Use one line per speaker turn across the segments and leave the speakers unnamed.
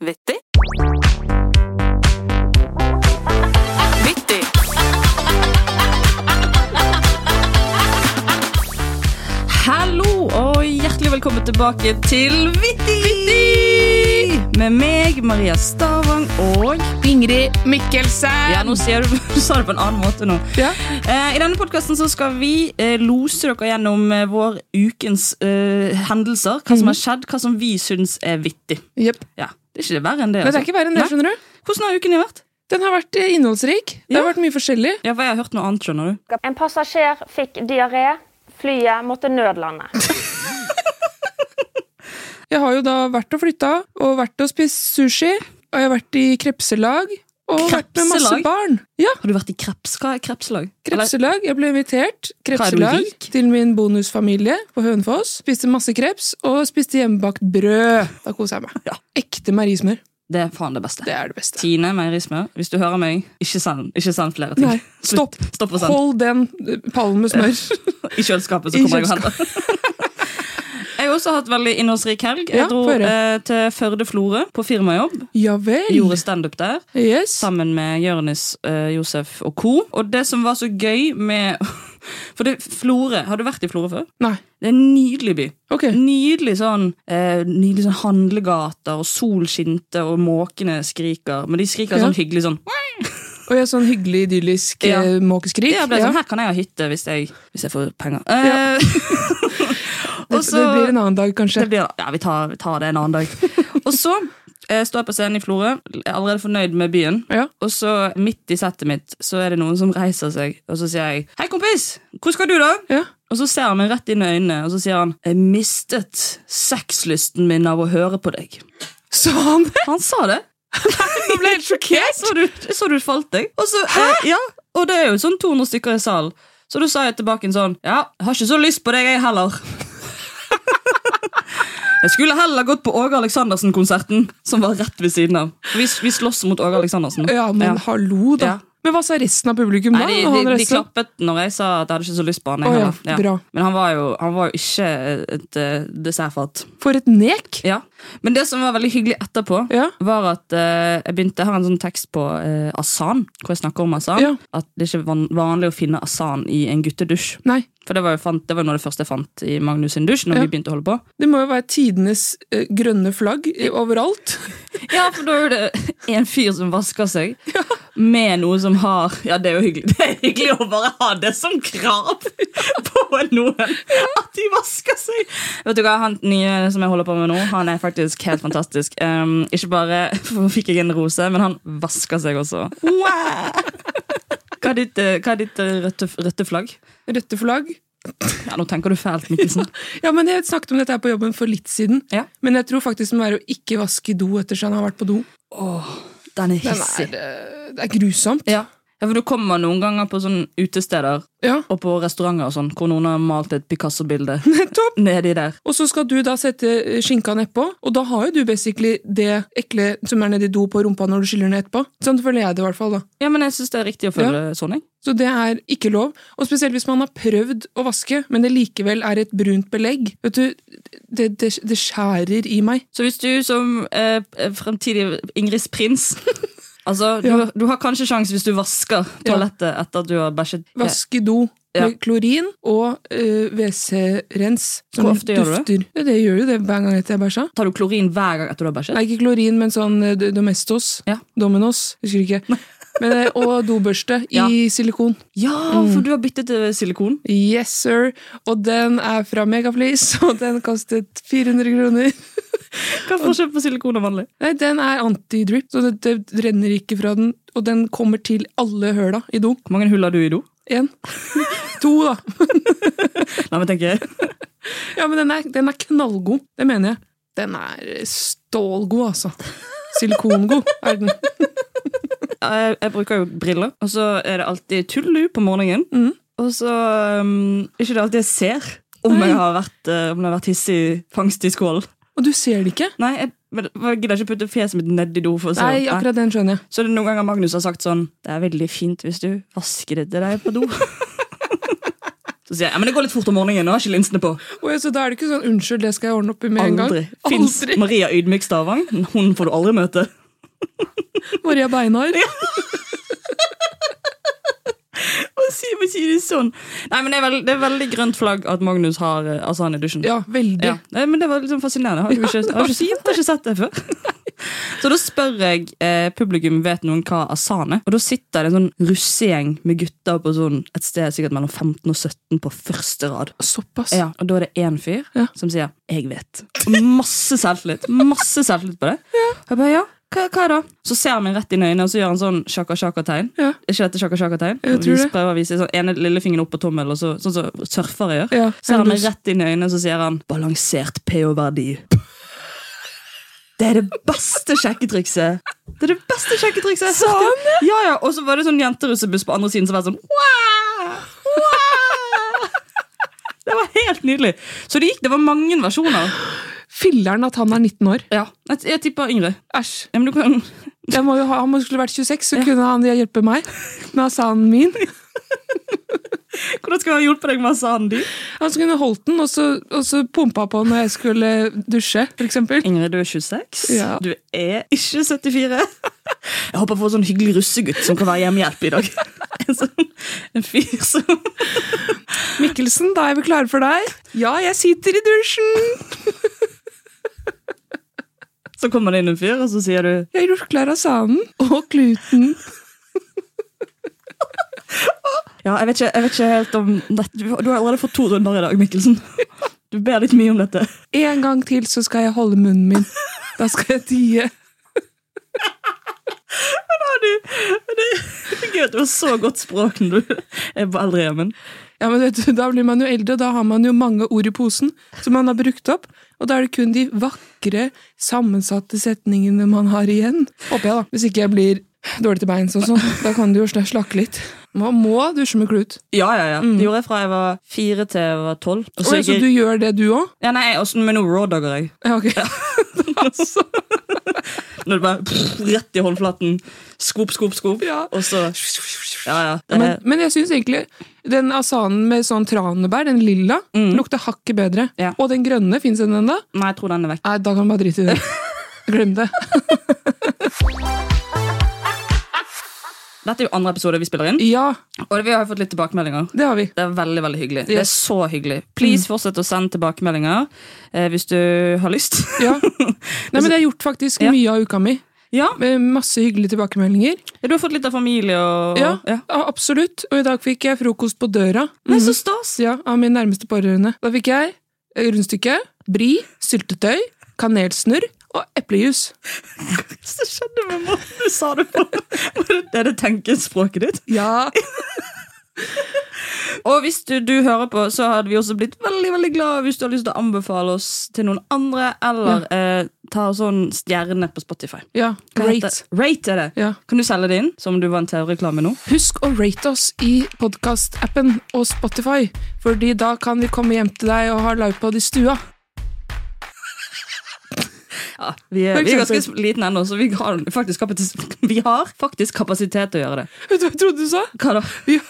Vittig. Vittig.
Hallo og hjertelig velkommen tilbake til Vittig! Med meg, Maria Stavang og
Ingrid Mikkelsen.
Ja, nå sier du, du sa det på en annen måte nå.
Ja.
Eh, I denne podkasten skal vi eh, lose dere gjennom eh, vår ukens eh, hendelser. Hva som har skjedd, hva som vi syns er vittig.
Jepp.
Ja, Det er ikke verre enn det.
Men det er ikke verre enn det,
Nei.
skjønner du.
Hvordan har uken din vært?
Den har vært eh, innholdsrik. Det har
Ja.
vært mye forskjellig.
Ja, for Jeg har hørt noe annet, skjønner du.
En passasjer fikk diaré. Flyet måtte nødlande.
Jeg har jo da vært og flytta, og vært og spist sushi, og jeg har vært i krepselag, og vært med masse
Krepselag?
barn. Ja,
Har du vært i kreps? Hva er krepslag?
krepselag. Jeg ble
Hva
invitert
er
krepselag
du rik?
til min bonusfamilie på Hønefoss. Spiste masse kreps, og spiste hjemmebakt brød. Da koser jeg meg.
Ja.
Ekte meierismør.
Det er faen det beste.
Det er det beste.
Tine Meierismør, hvis du hører meg, ikke send, ikke send flere ting.
Nei, stopp.
Slutt. Stopp og send.
Hold den eh, pallen med smør.
I kjøleskapet, så
I
kommer jeg og henter. Jeg har også hatt veldig innholdsrik helg. Jeg
Ja,
dro
få høre.
eh, til Førde-Florø på firmajobb.
Ja vel.
Gjorde standup der
Yes.
sammen med Jørnis, eh, Josef og co. Og det som var så gøy med For det Florø Har du vært i Florø før?
Nei.
Det er en nydelig by.
Ok.
Nydelig sånn, eh, nydelig sånn handlegater, og sol skinte, og måkene skriker. Men de skriker
Ja.
sånn hyggelig sånn
Og jeg er sånn hyggelig, idyllisk
Ja.
eh, måkeskrik.
Ja, jeg ble
Ja.
sånn, her kan jeg ha hytte hvis jeg, hvis jeg får penger.
Ja.
Eh,
Det,
og så,
det blir en annen dag, kanskje.
det blir- ja, vi tar, vi tar det en annen dag. og så eh, står jeg på scenen i Florø, er allerede fornøyd med byen.
Ja.
Og så midt i settet mitt så er det noen som reiser seg, og så sier jeg 'Hei, kompis! Hvor skal du, da?'
Ja.
Og så ser han meg rett inn i øynene, og så sier han 'Jeg mistet sexlysten min av å høre på deg'.
Så han det?
Han sa det.
Nå ble jeg helt sjokkert!
Så du, så du falt deg. Og så, eh, ja, og det er jo sånn 200 stykker i salen. Så da sa jeg tilbake en sånn Ja, jeg har ikke så lyst på deg, jeg heller. Jeg skulle heller gått på Åge Aleksandersen-konserten, som var rett ved siden av. Vi, vi slåss mot Åge Aleksandersen.
Ja, men
Ja.
hallo, da.
Ja.
Men hva sa resten av publikum da?
Nei, de,
Og han
de, de
resten?
klappet når jeg sa at jeg hadde ikke så lyst på han.
Å
Jeg,
ja,
heller. ja.
bra.
Men han var, jo, han var jo ikke et eh, dessertfat.
For et nek!
Ja. Men det som var veldig hyggelig etterpå,
Ja.
var at eh, jeg begynte Jeg har en sånn tekst på eh, Asan, hvor jeg snakker om Asan.
Ja.
At det ikke er van vanlig å finne Asan i en guttedusj.
Nei,
For det var jo fant, det var jo noe av det første jeg fant i Magnus sin dusj. Når
Ja.
vi begynte å holde på
det må jo være tidenes eh, grønne flagg i- overalt.
Ja, for da er det en fyr som vasker seg med noe som har Ja, det er jo hyggelig Det er hyggelig å bare ha det som krav på noen. At de vasker seg. Vet du hva, Han nye som jeg holder på med nå, han er faktisk helt fantastisk. Um, ikke bare fikk jeg en rose, men han vasker seg også. Hva er ditt, eh, hva er ditt eh, rødte, rødte flagg?
Rødte flagg.
Ja, Nå tenker du fælt, Mikkelsen.
Ja, men Jeg snakket om dette her på jobben for litt siden,
Ja.
men jeg tror faktisk det må være å ikke vaske do etter seg han har vært på do.
Åh, den er
Den
hissig.
er, eh, det er grusomt.
Ja. ja, for du kommer noen ganger på sånne utesteder
Ja,
Og på restauranter og sånn, hvor noen har malt et Picasso-bilde
nettopp!
nedi der.
Og så skal du da sette eh, skinka nedpå, og da har jo du basically det ekle som er nedi do på rumpa når du skyller ned etterpå. Sånn føler jeg det i hvert fall, da.
Ja, men jeg syns det er riktig å føle sånn, jeg.
Så det er ikke lov. Og spesielt hvis man har prøvd å vaske, men det likevel er et brunt belegg. Vet du, det, det, det skjærer i meg.
Så hvis du som eh, fremtidig Ingrids prins Altså, du,
Ja.
du har kanskje sjans hvis du vasker
Ja.
toalettet etter at du har bæsjet.
Vaske do
Ja.
med klorin og eh, WC-rens. som
Hvor ofte gjør du det?
dufter. Ja, det gjør jo det hver gang etter jeg bæsja.
Eh, Tar du klorin hver gang etter du har bæsjet?
Nei, ikke klorin, men sånn eh, d- Domestos.
Ja.
Dominos, husker ikke. Men, eh, og dobørste i
Ja.
silikon.
Ja, for du har byttet til silikon.
Yes, sir. Og den er fra Megaflis, og den kostet 400 kroner.
Hva er forskjellen på silikon og vanlig?
Nei, den er anti-drip, så det, det renner ikke fra den. Og den kommer til alle høla i do.
Hvor mange hull har du i do?
Én. to, da.
Nei, men tenker jeg.
Ja, men den er, den er knallgod. Det mener jeg. Den er stålgod, altså. Silikongod er den.
Jeg, Eh, jeg bruker jo briller, og så er det alltid tullu på morgenen.
Mhm.
Og så um, ikke det alltid jeg ser om
Nei.
jeg har vært, eh, om det har vært hissig fangst i skålen. Og
Du ser det ikke?
Nei, jeg, men jeg gidder ikke putte fjeset mitt nedi do. For å se
Nei,
om-
akkurat den skjønner jeg.
Så det er noen ganger Magnus har sagt sånn Det er veldig fint hvis du vasker etter deg på do. Så sier jeg ja, men det går litt fort om morgenen, nå er ikke linsene på.
Og jeg, så da er det ikke sånn 'unnskyld, det skal jeg ordne opp i med en gang'?
Aldri. Fins Maria Ydmyk Stavang? Hun får du aldri møte.
Maria Beinar.
Hva sier man sier det sånn? Nei, men det er, vel- det er veldig grønt flagg at Magnus har eh, altså han er dusjen.
Ja, veldig.
Ja. Nei, men det var liksom fascinerende. Har du ikke, har du ikke, jeg har ikke sett det før. Så da spør jeg eh, publikum vet noen hva asan er. Og da sitter det en sånn russegjeng med gutter på sånn et sted sikkert mellom 15 og 17 på første rad.
Såpass.
Ja, og da er det én fyr
Ja.
som sier 'jeg vet'. Og Masse selvtillit. Masse selvtillit på det. Og jeg bare, ja, hva, hva da? Så ser han meg rett inn i øynene og så gjør han sånn shaka-shaka-tegn.
Ja.
Er ikke dette shaka-shaka-tegn?
Jeg
Og
tror
vis-
det.
Prøver å vise sånn, ene lillefingeren opp på tommelen, og så, sånn som surfere gjør.
Ja,
Ser han meg
endus.
rett inn i øynene og så sier han 'balansert pH-verdi'. Det er det beste sjekketrikset! Det er det beste sjekketrikset! Sa han det? Ja, ja, Og så var det sånn jenterussebuss på andre siden som var sånn «Wah! Wah!» Det var helt nydelig. Så det gikk. Det var mange versjoner.
Filler'n at han er 19 år.
Ja, Jeg, jeg tipper yngre.
Æsj.
Ja, men du kan...
Jeg må jo ha, han skulle vært 26, så kunne han hjelpe meg med asanen min.
Hvordan skal han ha hjulpet deg med asanen din?
Han skulle holdt den, og så, og så pumpa på når jeg skulle dusje, f.eks.
Ingrid, du er 26.
Ja.
Du er ikke 74. Jeg håper jeg får en sånn hyggelig russegutt som kan være hjemmehjelp i dag. En, sånn, en fyr som
Mikkelsen, da er vi klare for deg. Ja, jeg sitter i dusjen!
Så kommer det inn en fyr, og så sier du
Jeg har gjort klar asanen og kluten.
Ja, jeg vet ikke, jeg vet ikke helt om dette. Du, du har allerede fått to runder i dag, Mikkelsen. Du ber litt mye om dette.
En gang til så skal jeg holde munnen min. Da skal jeg tie.
Ja, du, det, det er gøy at du har så godt språk når du er på eldrehjemmen.
Ja, men vet du, Da blir man jo eldre, og da har man jo mange ord i posen som man har brukt opp. Og da er det kun de vakre, sammensatte setningene man har igjen. Håper jeg, da. Hvis ikke jeg blir dårlig til beins og sånn. Da kan du jo sl- slakke litt. Man må dusje med klut.
Ja, ja, ja. Det gjorde jeg fra jeg var fire til jeg var tolv. Og så
Så, Mm. så
gikk
du
jeg,
gjør det, du òg?
ja, nei, og så- men nå raw-dogger jeg.
Ja, ok.
Når det bare pff, rett i håndflaten. Skop, skop, skop.
Ja.
Og så Ja, ja. Det,
Men, men jeg syns egentlig den asanen med sånn tranebær, den lilla, lukter hakket bedre.
Mm. Ja.
Og den grønne, fins den ennå?
nei, jeg tror den er vekk.
Nei, da kan du bare drite i det. Glem det.
Dette er jo andre episode vi spiller inn,
Ja,
og vi har jo fått litt tilbakemeldinger.
det har vi.
Det er veldig veldig hyggelig. Det er
Yes.
så hyggelig. Please fortsett å sende tilbakemeldinger eh, hvis du har lyst.
Ja. Nei, men det har gjort faktisk
Ja.
mye av uka mi.
ja,
Med Masse hyggelige tilbakemeldinger.
Du har fått litt av familie og
Ja, ja, absolutt. Og i dag fikk jeg frokost på døra
Nei, så stas!
ja, av min nærmeste pårørende. Da fikk jeg rundstykke, bri, syltetøy, kanelsnurr og eplejus.
Så skjedde med måten du sa det på. Var det det det tenkespråket ditt?
Ja.
Og hvis du, du hører på, så hadde vi også blitt veldig veldig glad hvis du har lyst til å anbefale oss til noen andre, eller eh, ta sånn stjerne på Spotify.
ja.
Hva heter-
Rate.
Rate er det.
Ja.
Kan du selge det inn, som du vant TV-reklame nå?
Husk å rate oss i podkastappen og Spotify, fordi da kan vi komme hjem til deg og ha livepod i stua.
Ja, vi er,
For
vi er
eksempel.
ganske liten ennå, så vi har, faktisk kapasitet, vi har faktisk kapasitet til å gjøre det.
Vet du hva jeg trodde du sa?
Hva da?
Vi,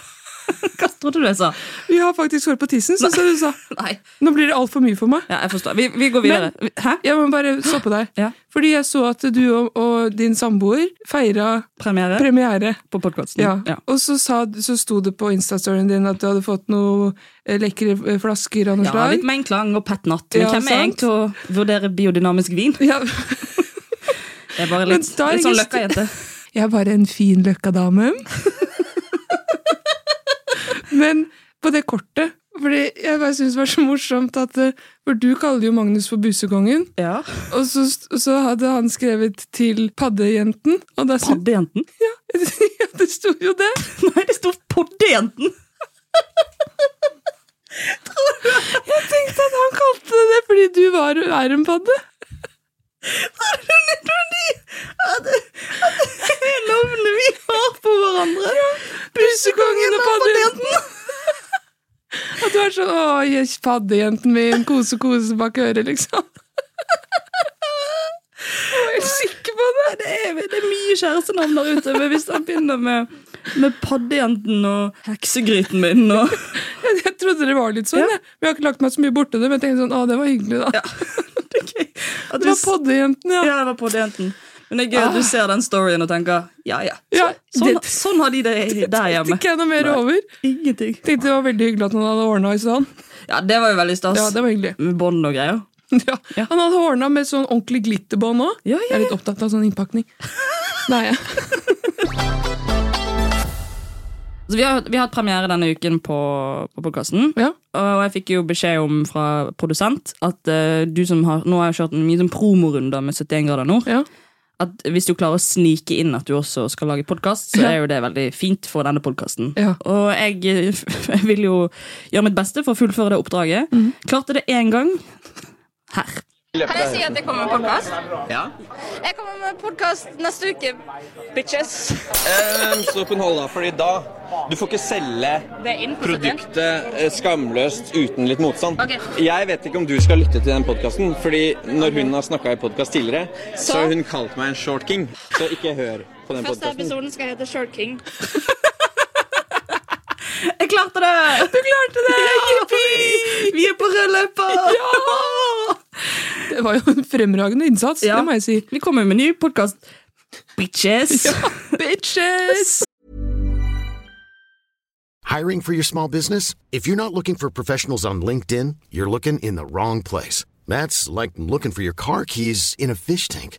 Hva trodde du jeg sa?
vi har faktisk hår på tissen, sånn som du sa.
Nei.
Nå blir det altfor mye for meg.
Ja, jeg forstår. Vi, vi går videre. Hæ?
Jeg må bare stoppe deg.
Ja.
Fordi jeg så at du og, og din samboer feira
Premiere
premiere.
på podkasten.
Ja. Og så, sa, så sto det på Insta-storyen din at du hadde fått noen lekre eh, flasker av noe
Ja, litt
slag.
Mengklang og Pat Natt. Men
Ja,
hvem er jeg
sant?
til å vurdere biodynamisk vin?
Ja,
Det er bare
Men
litt,
da er
litt sånn
jeg-
løkkajente.
jeg er bare en fin løkkadame. Men på det kortet fordi jeg bare synes det var så morsomt at eh, For du kaller jo Magnus for busekongen,
Ja.
og så, så hadde han skrevet til paddejenten. Og da synes,
Poddejenten?
ja, det sto jo det!
Nei, det sto Poddejenten!
Jeg tenkte at han kalte det det fordi du var, er en padde.
Det er navnet vi har på hverandre!
Busekongen og paddejenten. At du er sånn Å, yes, paddejenten min. Kose, kose bak øret, liksom. Jeg var helt sikker på det.
Det er, det er mye kjærestenavn der ute, men hvis han begynner med, med Paddejenten og Heksegryten min og
Jeg trodde det var litt sånn, jeg. Men jeg har ikke lagt meg så mye borti det. Men jeg tenkte sånn, å, det var hyggelig, da.
Det er gøy at
Det
du
var poddejenten, ja.
Ja, det var på denten. Men det er gøy at du ser den storyen og tenker ja, ja.
ja.
Sånn,
Ah. det
sånn har de det der
tenkte
hjemme.
ikke jeg noe mer
Nei.
over.
Ingenting.
Tenkte det var veldig hyggelig at han hadde ordna i sånn.
Ja, det var jo veldig stas.
Ja, det var hyggelig.
Med bånd og greier.
Ja. Han hadde ordna med sånn ordentlig glitterbånd òg.
Ja, ja,
Jeg er litt opptatt av sånn innpakning. Nei, ja.
Så vi har, vi har hatt premiere denne uken på, på podkasten.
ja.
Og jeg fikk jo beskjed om fra produsent at eh, du som har Nå har jeg kjørt en mye sånn promorunder med 71 grader nord.
ja.
At hvis du klarer å snike inn at du også skal lage podkast, så
Ja.
er jo det veldig fint for denne podkasten.
Ja.
Og jeg, eh, jeg vil jo gjøre mitt beste for å fullføre det oppdraget. Klarte det én gang. Her.
Kan jeg si at jeg kommer med podkast? Jeg kommer med podkast neste uke, bitches.
Ehm, Stopp en hold da, fordi da Du får ikke selge
Det er inn på
produktet eh, skamløst uten litt motstand.
Ok.
Jeg vet ikke om du skal lytte til den podkasten, fordi når hun har snakka i podkast tidligere, så
Så?
har hun kalt meg en short king. Så ikke hør på den
Første
podkasten.
episoden skal hete Short King.
Jeg klarte det! Du klarte det! Jippi! Vi er på rød løper!
Det var jo en fremragende innsats,
Ja.
det må jeg si.
Vi kommer med en ny podkast. Bitches!
Bitches!
Hiring for your small business? If you're not looking for professionals on LinkedIn, you're looking in the wrong place. That's like looking for your car keys in a fish tank.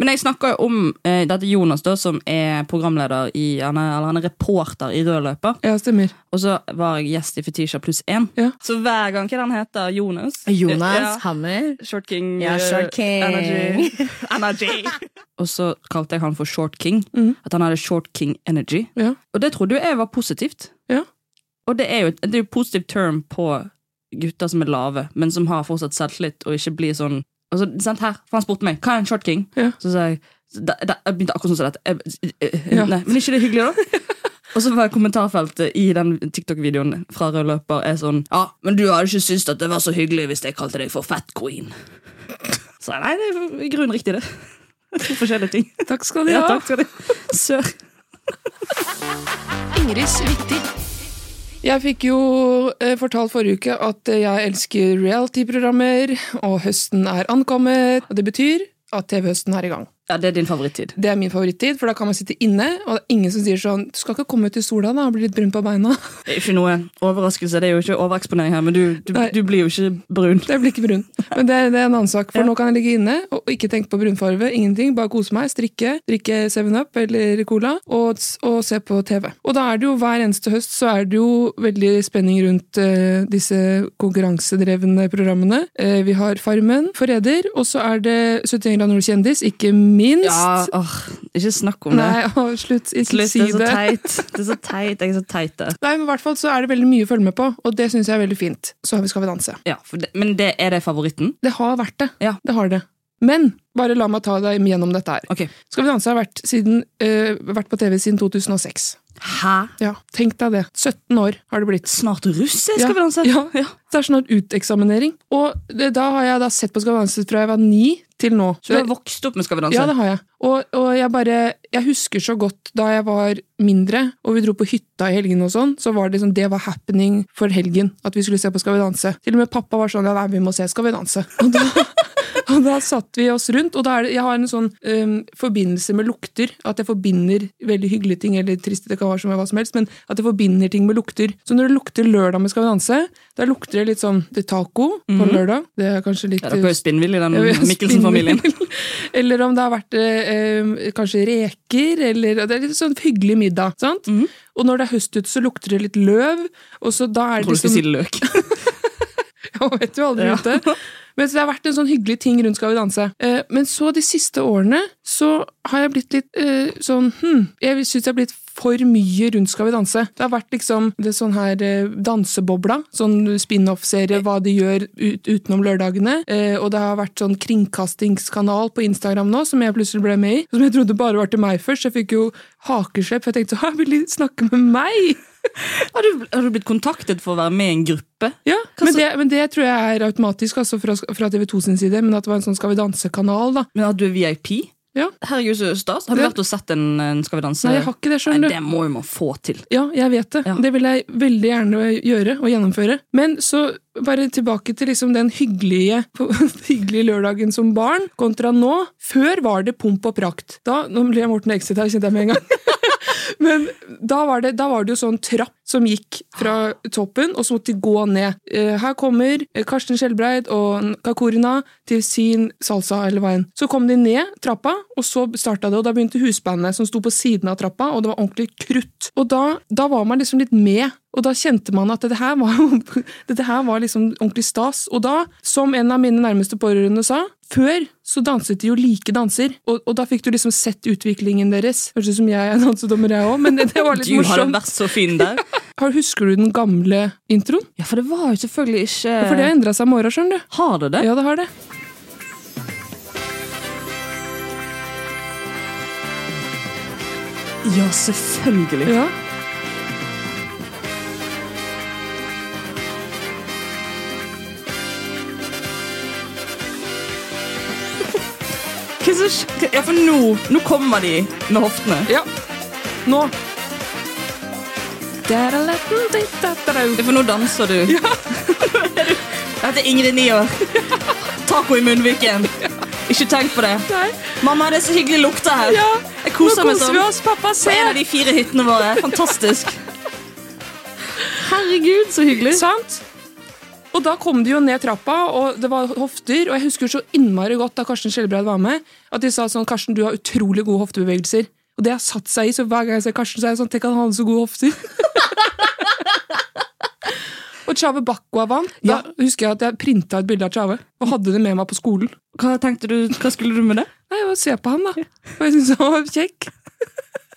Men jeg snakker jo om eh, dette Jonas, da, som er programleder i han er, Eller han er reporter i Rød løper.
Ja, stemmer.
Og så var jeg gjest i Fetisha pluss én.
Ja.
Så hver gang hva den heter Jonas Ja.
Hammer.
Short King.
Ja,
eh,
Short King.
Energy. energy. og så kalte jeg han for Short King.
Mm.
At han hadde Short King Energy.
Ja.
Og det trodde jo jeg var positivt.
Ja.
Og det er jo et, det er jo et positivt term på gutter som er lave, men som har fortsatt selvtillit og ikke blir sånn altså, sant, her, For han spurte meg hva er en short king.
Ja.
Så sa jeg da, da, Jeg begynte akkurat sånn som dette. Jeg, eh, eh,
Ja.
Nei, men ikke det hyggelig, da? Og så var kommentarfeltet i den TikTok-videoen fra Rød løper er sånn Ja, men du hadde ikke syntes at det var så hyggelig hvis jeg kalte deg for fat queen. Så jeg, nei, det er i grunnen riktig, det. To forskjellige ting.
Takk skal du
Ja,
ha.
takk skal du ha. Sør.
Jeg fikk jo eh, fortalt forrige uke at eh, jeg elsker reality-programmer, og høsten er ankommet. Og det betyr at TV-høsten er i gang.
Ja, det er din favorittid.
Det er min favorittid, for da kan man sitte inne, og det er ingen som sier sånn Du skal ikke komme ut i sola, da, og bli litt brun på beina.
Det er Ikke noe overraskelse, det er jo ikke overeksponering her, men du, du,
Nei.
du blir jo ikke brun.
Jeg blir ikke brun. Men det er, det er en annen sak, for nå kan jeg ligge inne og ikke tenke på brunfarve. Ingenting. Bare kose meg, strikke, drikke 7-Up eller Cola og, og se på TV. Og da er det jo hver eneste høst så er det jo veldig spenning rundt eh, disse konkurransedrevne programmene. Eh, vi har Farmen, Forræder, og så er det 71 grader nord kjendis, ikke minst.
Ja, åh, ikke snakk om
Nei, å, slutt. Ikke
det. Slutt,
si
det er så
det.
teit. Det er så teit, jeg er så teit det.
Nei, men i hvert fall så er det veldig mye å følge med på, og det syns jeg er veldig fint. Så har vi Skal vi danse.
Ja, for det. Men det, er det favoritten?
Det har vært det.
Ja.
Det har det. Men bare la meg ta deg gjennom dette her.
Ok.
Skal vi danse har vært, siden, eh, vært på TV siden 2006.
Hæ?
Ja, tenk deg det. 17 år har det blitt.
Snart russ jeg skal
Ja,
vi danse?
Ja, ja. Det er snart uteksaminering. Og det, da har jeg da sett på Skal vi danse fra jeg var ni til nå.
Så du har vokst opp med Skal vi danse?
Ja, det har jeg. Og, og jeg bare Jeg husker så godt da jeg var mindre, og vi dro på hytta i helgen og sånn, så var det liksom Det var happening for helgen at vi skulle se på Skal vi danse. Til og med pappa var sånn Ja, nei, vi må se Skal vi danse. Og da Og da satt vi oss rundt, og da er det, jeg har en sånn øhm, forbindelse med lukter. At jeg forbinder veldig hyggelige ting, eller triste, det kan være som hva som helst, men at jeg forbinder ting med lukter. Så når det lukter lørdag med Skal vi danse, da lukter det litt sånn det er taco på
Mhm.
lørdag. Det er kanskje litt
Ja, dere er jo spinnville i den
Ja, vi er
Mikkelsen-familien.
spinnvill. Eller om det har vært eh, eh, kanskje reker, eller Det er litt sånn hyggelig middag. sant?
Mhm.
Og når det er høst ute, så lukter det litt løv. og så da er
Jeg
det
tror du skulle si
liksom...
løk.
Ja, man vet jo aldri
Ja.
ute. Men så det har vært en sånn hyggelig ting rundt Skal vi danse. Eh, men så de siste årene så har jeg blitt litt eh, sånn hm, Jeg syns jeg har blitt for mye rundt Skal vi danse. Det har vært liksom det sånn her eh, Dansebobla, sånn spin-off-serie, hva de gjør ut, utenom lørdagene. Eh, og det har vært sånn kringkastingskanal på Instagram nå, som jeg plutselig ble med i. Som jeg trodde bare var til meg først. Jeg fikk jo hakeslepp, for jeg tenkte sånn, «Hæ, vil de snakke med meg?
Har du, har du blitt kontaktet for å være med i en gruppe?
Ja, men det, men det tror jeg er automatisk altså fra, fra TV2 sin side, men at det var en sånn Skal vi danse-kanal, da.
Men at du er VIP?
Ja.
Herregud, så stas. Har du
Ja.
vært og sett en, en Skal vi danse?
Nei, jeg har ikke det, skjønner
Nei,
du.
Det må jo man få til.
Ja, jeg vet det. Det vil jeg veldig gjerne gjøre og gjennomføre. Men så bare tilbake til liksom den hyggelige, hyggelige lørdagen som barn, kontra nå. Før var det pomp og prakt. Da, nå ble jeg Morten Exit her, kjente jeg med en gang. Men da var, det, da var det jo sånn trapp som gikk fra toppen, og så måtte de gå ned. Eh, Her kommer Karsten Skjelbreid og Kakurina til sin salsa hele veien. Så kom de ned trappa, og så starta det, og da begynte husbandet som sto på siden av trappa, og det var ordentlig krutt. Og da, da var man liksom litt med. Og da kjente man at dette her, var, dette her var liksom ordentlig stas. Og da, som en av mine nærmeste pårørende sa, før så danset de jo like danser, og, og da fikk du liksom sett utviklingen deres. Høres ut som jeg er dansedommer, jeg òg, men det, det var litt
du har jo
morsomt.
vært så fin der.
Har, husker du den gamle introen?
Ja, for det var jo selvfølgelig ikke
Ja, for det har endra seg med åra, skjønner du.
Har det det?
Ja, det har det.
Ja, selvfølgelig.
Ja.
Hva som skjer? Ja, for nå, nå kommer de med hoftene.
Ja. Nå.
Ja, for nå danser du. Ja. Dette er Ingrid Nier. Taco i munnviken. Ikke tenk på det.
Nei.
Mamma, det er så hyggelig lukta her.
Ja,
Jeg koser
nå
meg
koser
sånn.
vi oss, pappa. Se!
På en av de fire hyttene våre. Fantastisk. Herregud, så hyggelig.
Sant? Og da kom de jo ned trappa, og det var hofter. Og jeg husker så innmari godt da Karsten Skjelbreid var med, at de sa sånn Karsten, du har utrolig gode hoftebevegelser. Og det har satt seg i, så hver gang jeg ser Karsten, så er jeg sånn Tenk, han hadde så gode hofter. og Tjave Bakwa vant. Da husker jeg at jeg printa et bilde av Tjave og hadde det med meg på skolen.
Hva tenkte du, hva skulle du med det?
Nei, jeg var Se på han, da. Og jeg syntes han var kjekk.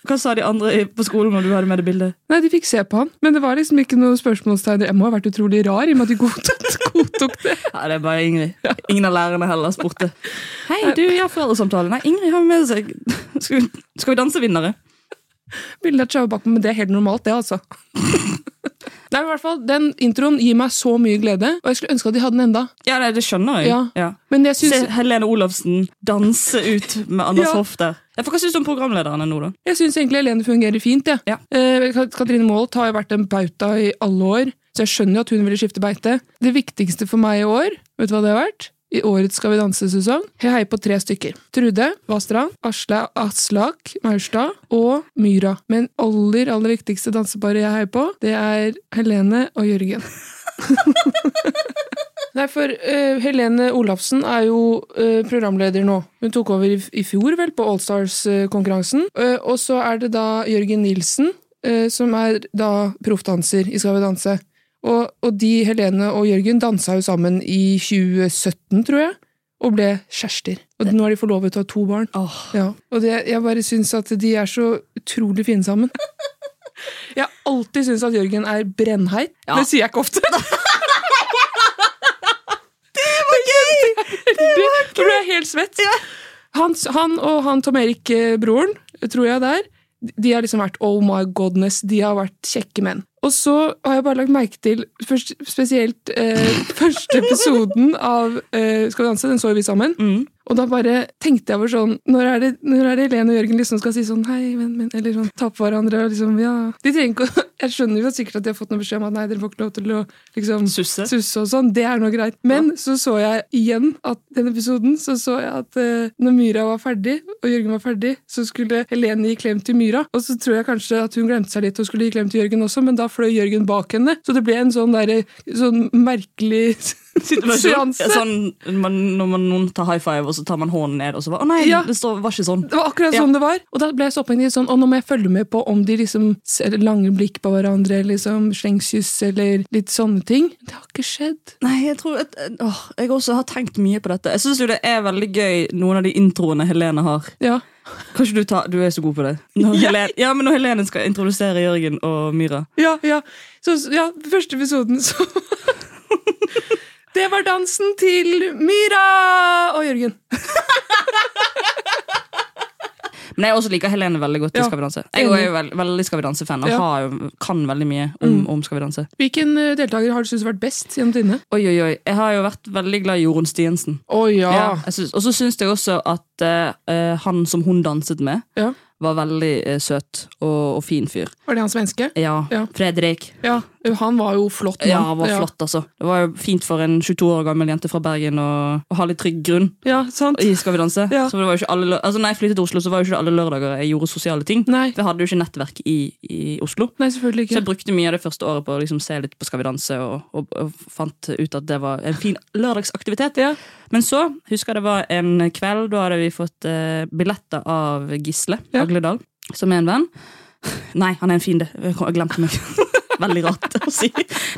Hva sa de andre i- på skolen når du hadde med det bildet?
Nei, de fikk se på han. Men det var liksom ikke noe spørsmålstegn. Jeg må ha vært utrolig rar i og med at de godtok, godtok det.
Ja, det er bare Ingrid. Ingen av lærerne heller spurte. Hei, du, jeg har foreldresamtale. Nei, Ingrid har med seg Skal vi, skal vi danse vinnere?
Bilde av Tjave Bakken, men det er helt normalt, det, altså. Nei, men i hvert fall, Den introen gir meg så mye glede, og jeg skulle ønske at de hadde den enda.
Ja, nei, det skjønner jeg.
Ja.
Ja.
Men jeg
Se
syns,
Helene Olafsen danse ut med Anders
Ja.
Hofter. Ja, for hva syns du om programlederne nå, da?
jeg syns egentlig Helene fungerer fint. jeg.
Ja.
Eh, Kat- Katrine Moholt har jo vært en bauta i alle år, så jeg skjønner jo at hun ville skifte beite. Det viktigste for meg i år, vet du hva det har vært? I årets Skal vi danse-sesong. Jeg heier på tre stykker. Trude Vastrand, Asle Aslak Maurstad og Myra. Men aller, aller viktigste danseparet jeg heier på, det er Helene og Jørgen. Nei, for eh, Helene Olafsen er jo eh, programleder nå. Hun tok over i, i fjor, vel, på Allstars-konkurransen. Eh, og så er det da Jørgen Nilsen, eh, som er da proffdanser i Skal vi danse. Og, og de, Helene og Jørgen, dansa jo sammen i 2017, tror jeg, og ble kjærester. Og nå er de forlovet og har to barn. Ja, og det, jeg bare syns at de er så utrolig fine sammen. Jeg har alltid syntes at Jørgen er brennheit.
Ja.
Det sier jeg ikke ofte. Da ble jeg helt svett. Han, han og han Tom Erik-broren, tror jeg det er, de har liksom vært oh my godness, de har vært kjekke menn. Og så har jeg bare lagt merke til først, spesielt eh, første episoden av eh, Skal vi danse, den så jo vi sammen. Og Og da bare tenkte jeg over sånn Når er det, når er det Helene og Jørgen liksom skal si sånn hei, venn min, eller sånn ta på hverandre og liksom ja De trenger ikke å Jeg skjønner jo sikkert at de har fått noe beskjed om at nei, dere får ikke lov til å liksom
Susse.
og sånn. Det er noe greit. Men så så jeg igjen at den episoden så så jeg at eh, når Myra var ferdig, og Jørgen var ferdig, så skulle Helene gi klem til Myra. Og så tror jeg kanskje at hun glemte seg litt og skulle gi klem til Jørgen også, men da fløy Jørgen bak henne. Så det ble en sånn derre sånn merkelig
Situasjon.
seanse.
Sånn, man, når man, noen tar high five, og så tar man hånden ned, og så bare Å nei,
Ja.
det står, var ikke sånn.
Det var akkurat sånn det var. Og da ble jeg så opphengt i sånn, og nå må jeg følge med på om de liksom ser lange blikk på hverandre, liksom slengskyss eller litt sånne ting. Det har ikke skjedd.
Nei, jeg tror at, åh, Jeg også har tenkt mye på dette. Jeg syns jo det er veldig gøy, noen av de introene Helene har.
Ja.
Kanskje du tar Du er så god på det. Når
Jeg?
Helene, ja, men når Helene skal introdusere Jørgen og Myra.
Ja, ja. Så, ja, første episoden, så Det var dansen til Myra og Jørgen.
Men jeg også liker Helene veldig godt i
Ja.
Skal vi danse. Jeg er jo veld, veldig Skal vi danse-fan og
Ja.
har jo- kan veldig mye om, om Skal vi danse.
Hvilken eh, deltaker har du syntes har vært best gjennom tidene?
Oi, oi, oi. Jeg har jo vært veldig glad i Jorunn Stiensen.
Å ja.
Ja, jeg syns- og så syns jeg også at eh, eh, han som hun danset med,
Ja.
var veldig eh, søt og, og fin fyr.
Var det hans menneske?
Ja.
Ja.
Fredrik.
Ja, Han var jo flott. mann.
Ja, han var flott, altså. Det var jo fint for en 22 år gammel jente fra Bergen å, å ha litt trygg grunn
Ja, sant?
i Skal vi danse.
Ja.
Så det var jo ikke alle, lø- altså, når jeg flyttet til Oslo, så var jo ikke det alle lørdager jeg gjorde sosiale ting.
Nei.
For jeg hadde jo ikke nettverk i, i Oslo.
Nei, selvfølgelig
Så jeg
ikke.
brukte mye av det første året på å liksom se litt på Skal vi danse, og, og, og fant ut at det var en fin lørdagsaktivitet.
Ja.
Men så husker jeg det var en kveld, da hadde vi fått eh, billetter av Gisle
Ja.
Agledal, som er en venn. Nei, han er en fiende. Jeg kom- jeg glemte meg. Veldig rart å si.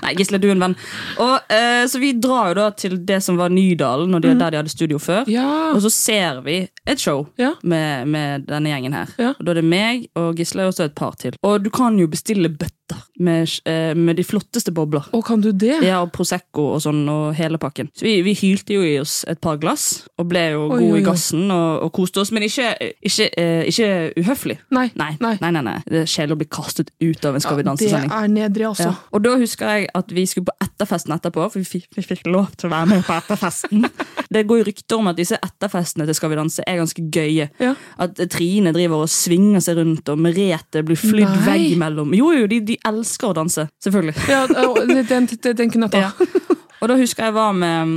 Nei, Gisle, du er en venn. Og, eh, så vi drar jo da til det som var Nydalen, og
Mm.
det, der de hadde studio før.
Ja.
Og så ser vi et show
Ja.
med, med denne gjengen her.
Ja.
Og Da er det meg og Gisle og så et par til. Og du kan jo bestille bøtter med, eh, med de flotteste bobler.
Å, kan du det?
Ja, og Prosecco og sånn, og hele pakken. Så vi, vi hylte jo i oss et par glass, og ble jo
Oi,
gode
oi,
i
oi.
gassen og, og koste oss. Men ikke, ikke, eh, ikke uhøflig.
Nei.
Nei, nei, nei, nei. Det er kjedelig å bli kastet ut av en Skal vi
det
danse-sending.
er nedrig, altså.
Ja. Og da husker jeg at vi skulle på etterfesten etterpå, for vi fikk, vi fikk lov til å være med på etterfesten. Det går jo rykter om at disse etterfestene til Skal vi danse er ganske gøye.
Ja.
At Trine driver og svinger seg rundt, og Merete blir flydd
Nei.
vegg imellom. Jo, jo, de, de elsker å danse. Selvfølgelig.
Ja, å, den, den, den kunne jeg ta.
Ja. Og da husker jeg var med um,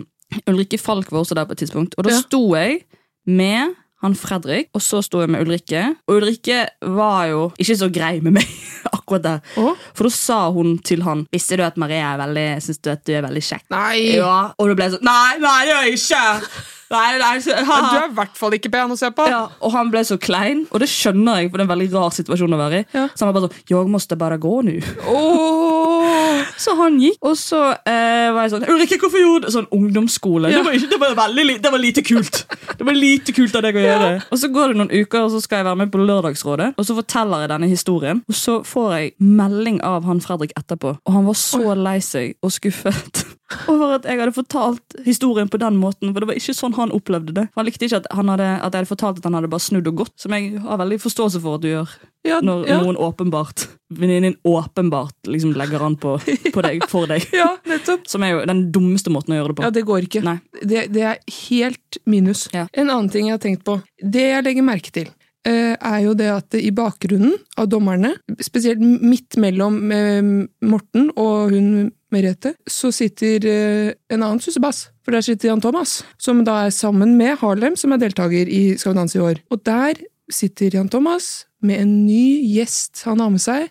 Ulrikke Falk var også der på et tidspunkt. Og da
Ja.
sto jeg med han Fredrik, og så sto jeg med Ulrikke. Og Ulrikke var jo ikke så grei med meg akkurat der.
Å?
For da sa hun til han Visste du at Maria er veldig Syns du at du er veldig kjekk?
Nei.
Ja, og det ble sånn Nei, nei, det gjør jeg ikke! Nei, nei, så- ha,
Du
ha.
er i hvert fall ikke pen å se på.
Ja, og han ble så klein, og det skjønner jeg, for det er en veldig rar situasjon å være i.
Ja.
Så han var bare sånn Jeg måtte bare gå nå.
Åh.
Så han gikk, og så eh, var jeg sånn Ulrikke, hvorfor gjorde du Sånn ungdomsskole.
Ja.
Det, var ikke, det, var veldig, li- det var lite kult. Det var lite kult av deg å gjøre. Og så går det noen uker, og så skal jeg være med på Lørdagsrådet. Og så forteller jeg denne historien, og så får jeg melding av han Fredrik etterpå. Og han var så lei seg og skuffet. Over at jeg hadde fortalt historien på den måten. For det var ikke sånn han opplevde det. Han likte ikke at, han hadde, at jeg hadde fortalt at han hadde bare snudd og gått. Som jeg har veldig forståelse for at du gjør
Ja,
når
ja.
noen åpenbart Venninnen din åpenbart liksom legger an på, på deg, for deg.
ja, nettopp.
Som er jo den dummeste måten å gjøre det på.
Ja, det går ikke.
Nei.
Det, det er helt minus.
Ja.
En annen ting jeg har tenkt på, det jeg legger merke til, eh, er jo det at i bakgrunnen av dommerne, spesielt midt mellom eh, Morten og hun Merete, så sitter eh, en annen sussebass. For der sitter Jan Thomas, som da er sammen med Harlem, som er deltaker i Skal vi danse i år. Og der sitter Jan Thomas med en ny gjest han har med seg.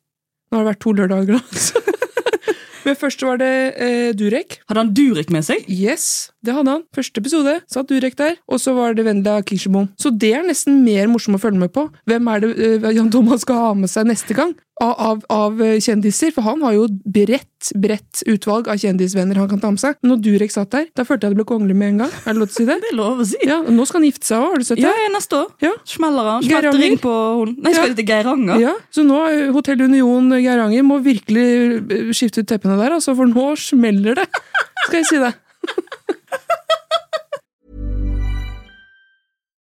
Nå har det vært to lørdager, altså. Men først var det eh, Durek.
Hadde han Durek med seg?
Yes, det hadde han. Første episode satt Durek der, og så var det Vendela Kirsebom. Så det er nesten mer morsomt å følge med på. Hvem er det eh, Jan Thomas skal ha med seg neste gang? Av, av, av eh, kjendiser, for han har jo et bredt, bredt utvalg av kjendisvenner han kan ta med seg. Men når Durek satt der, da følte jeg det ble kongelig med en gang. Er det lov til å si det?
Det er lov å si.
Ja, og nå skal han gifte seg òg, har du sett
Ja,
det?
ja, neste år.
Ja.
Smeller han. Smetter
Geiranger.
ring på hun. Nei, skal
Ja.
de til Geiranger?
Ja, så nå eh, Hotell Union eh, Geiranger må virkelig eh, skifte ut teppene der, altså, for nå smeller det. Skal jeg si det.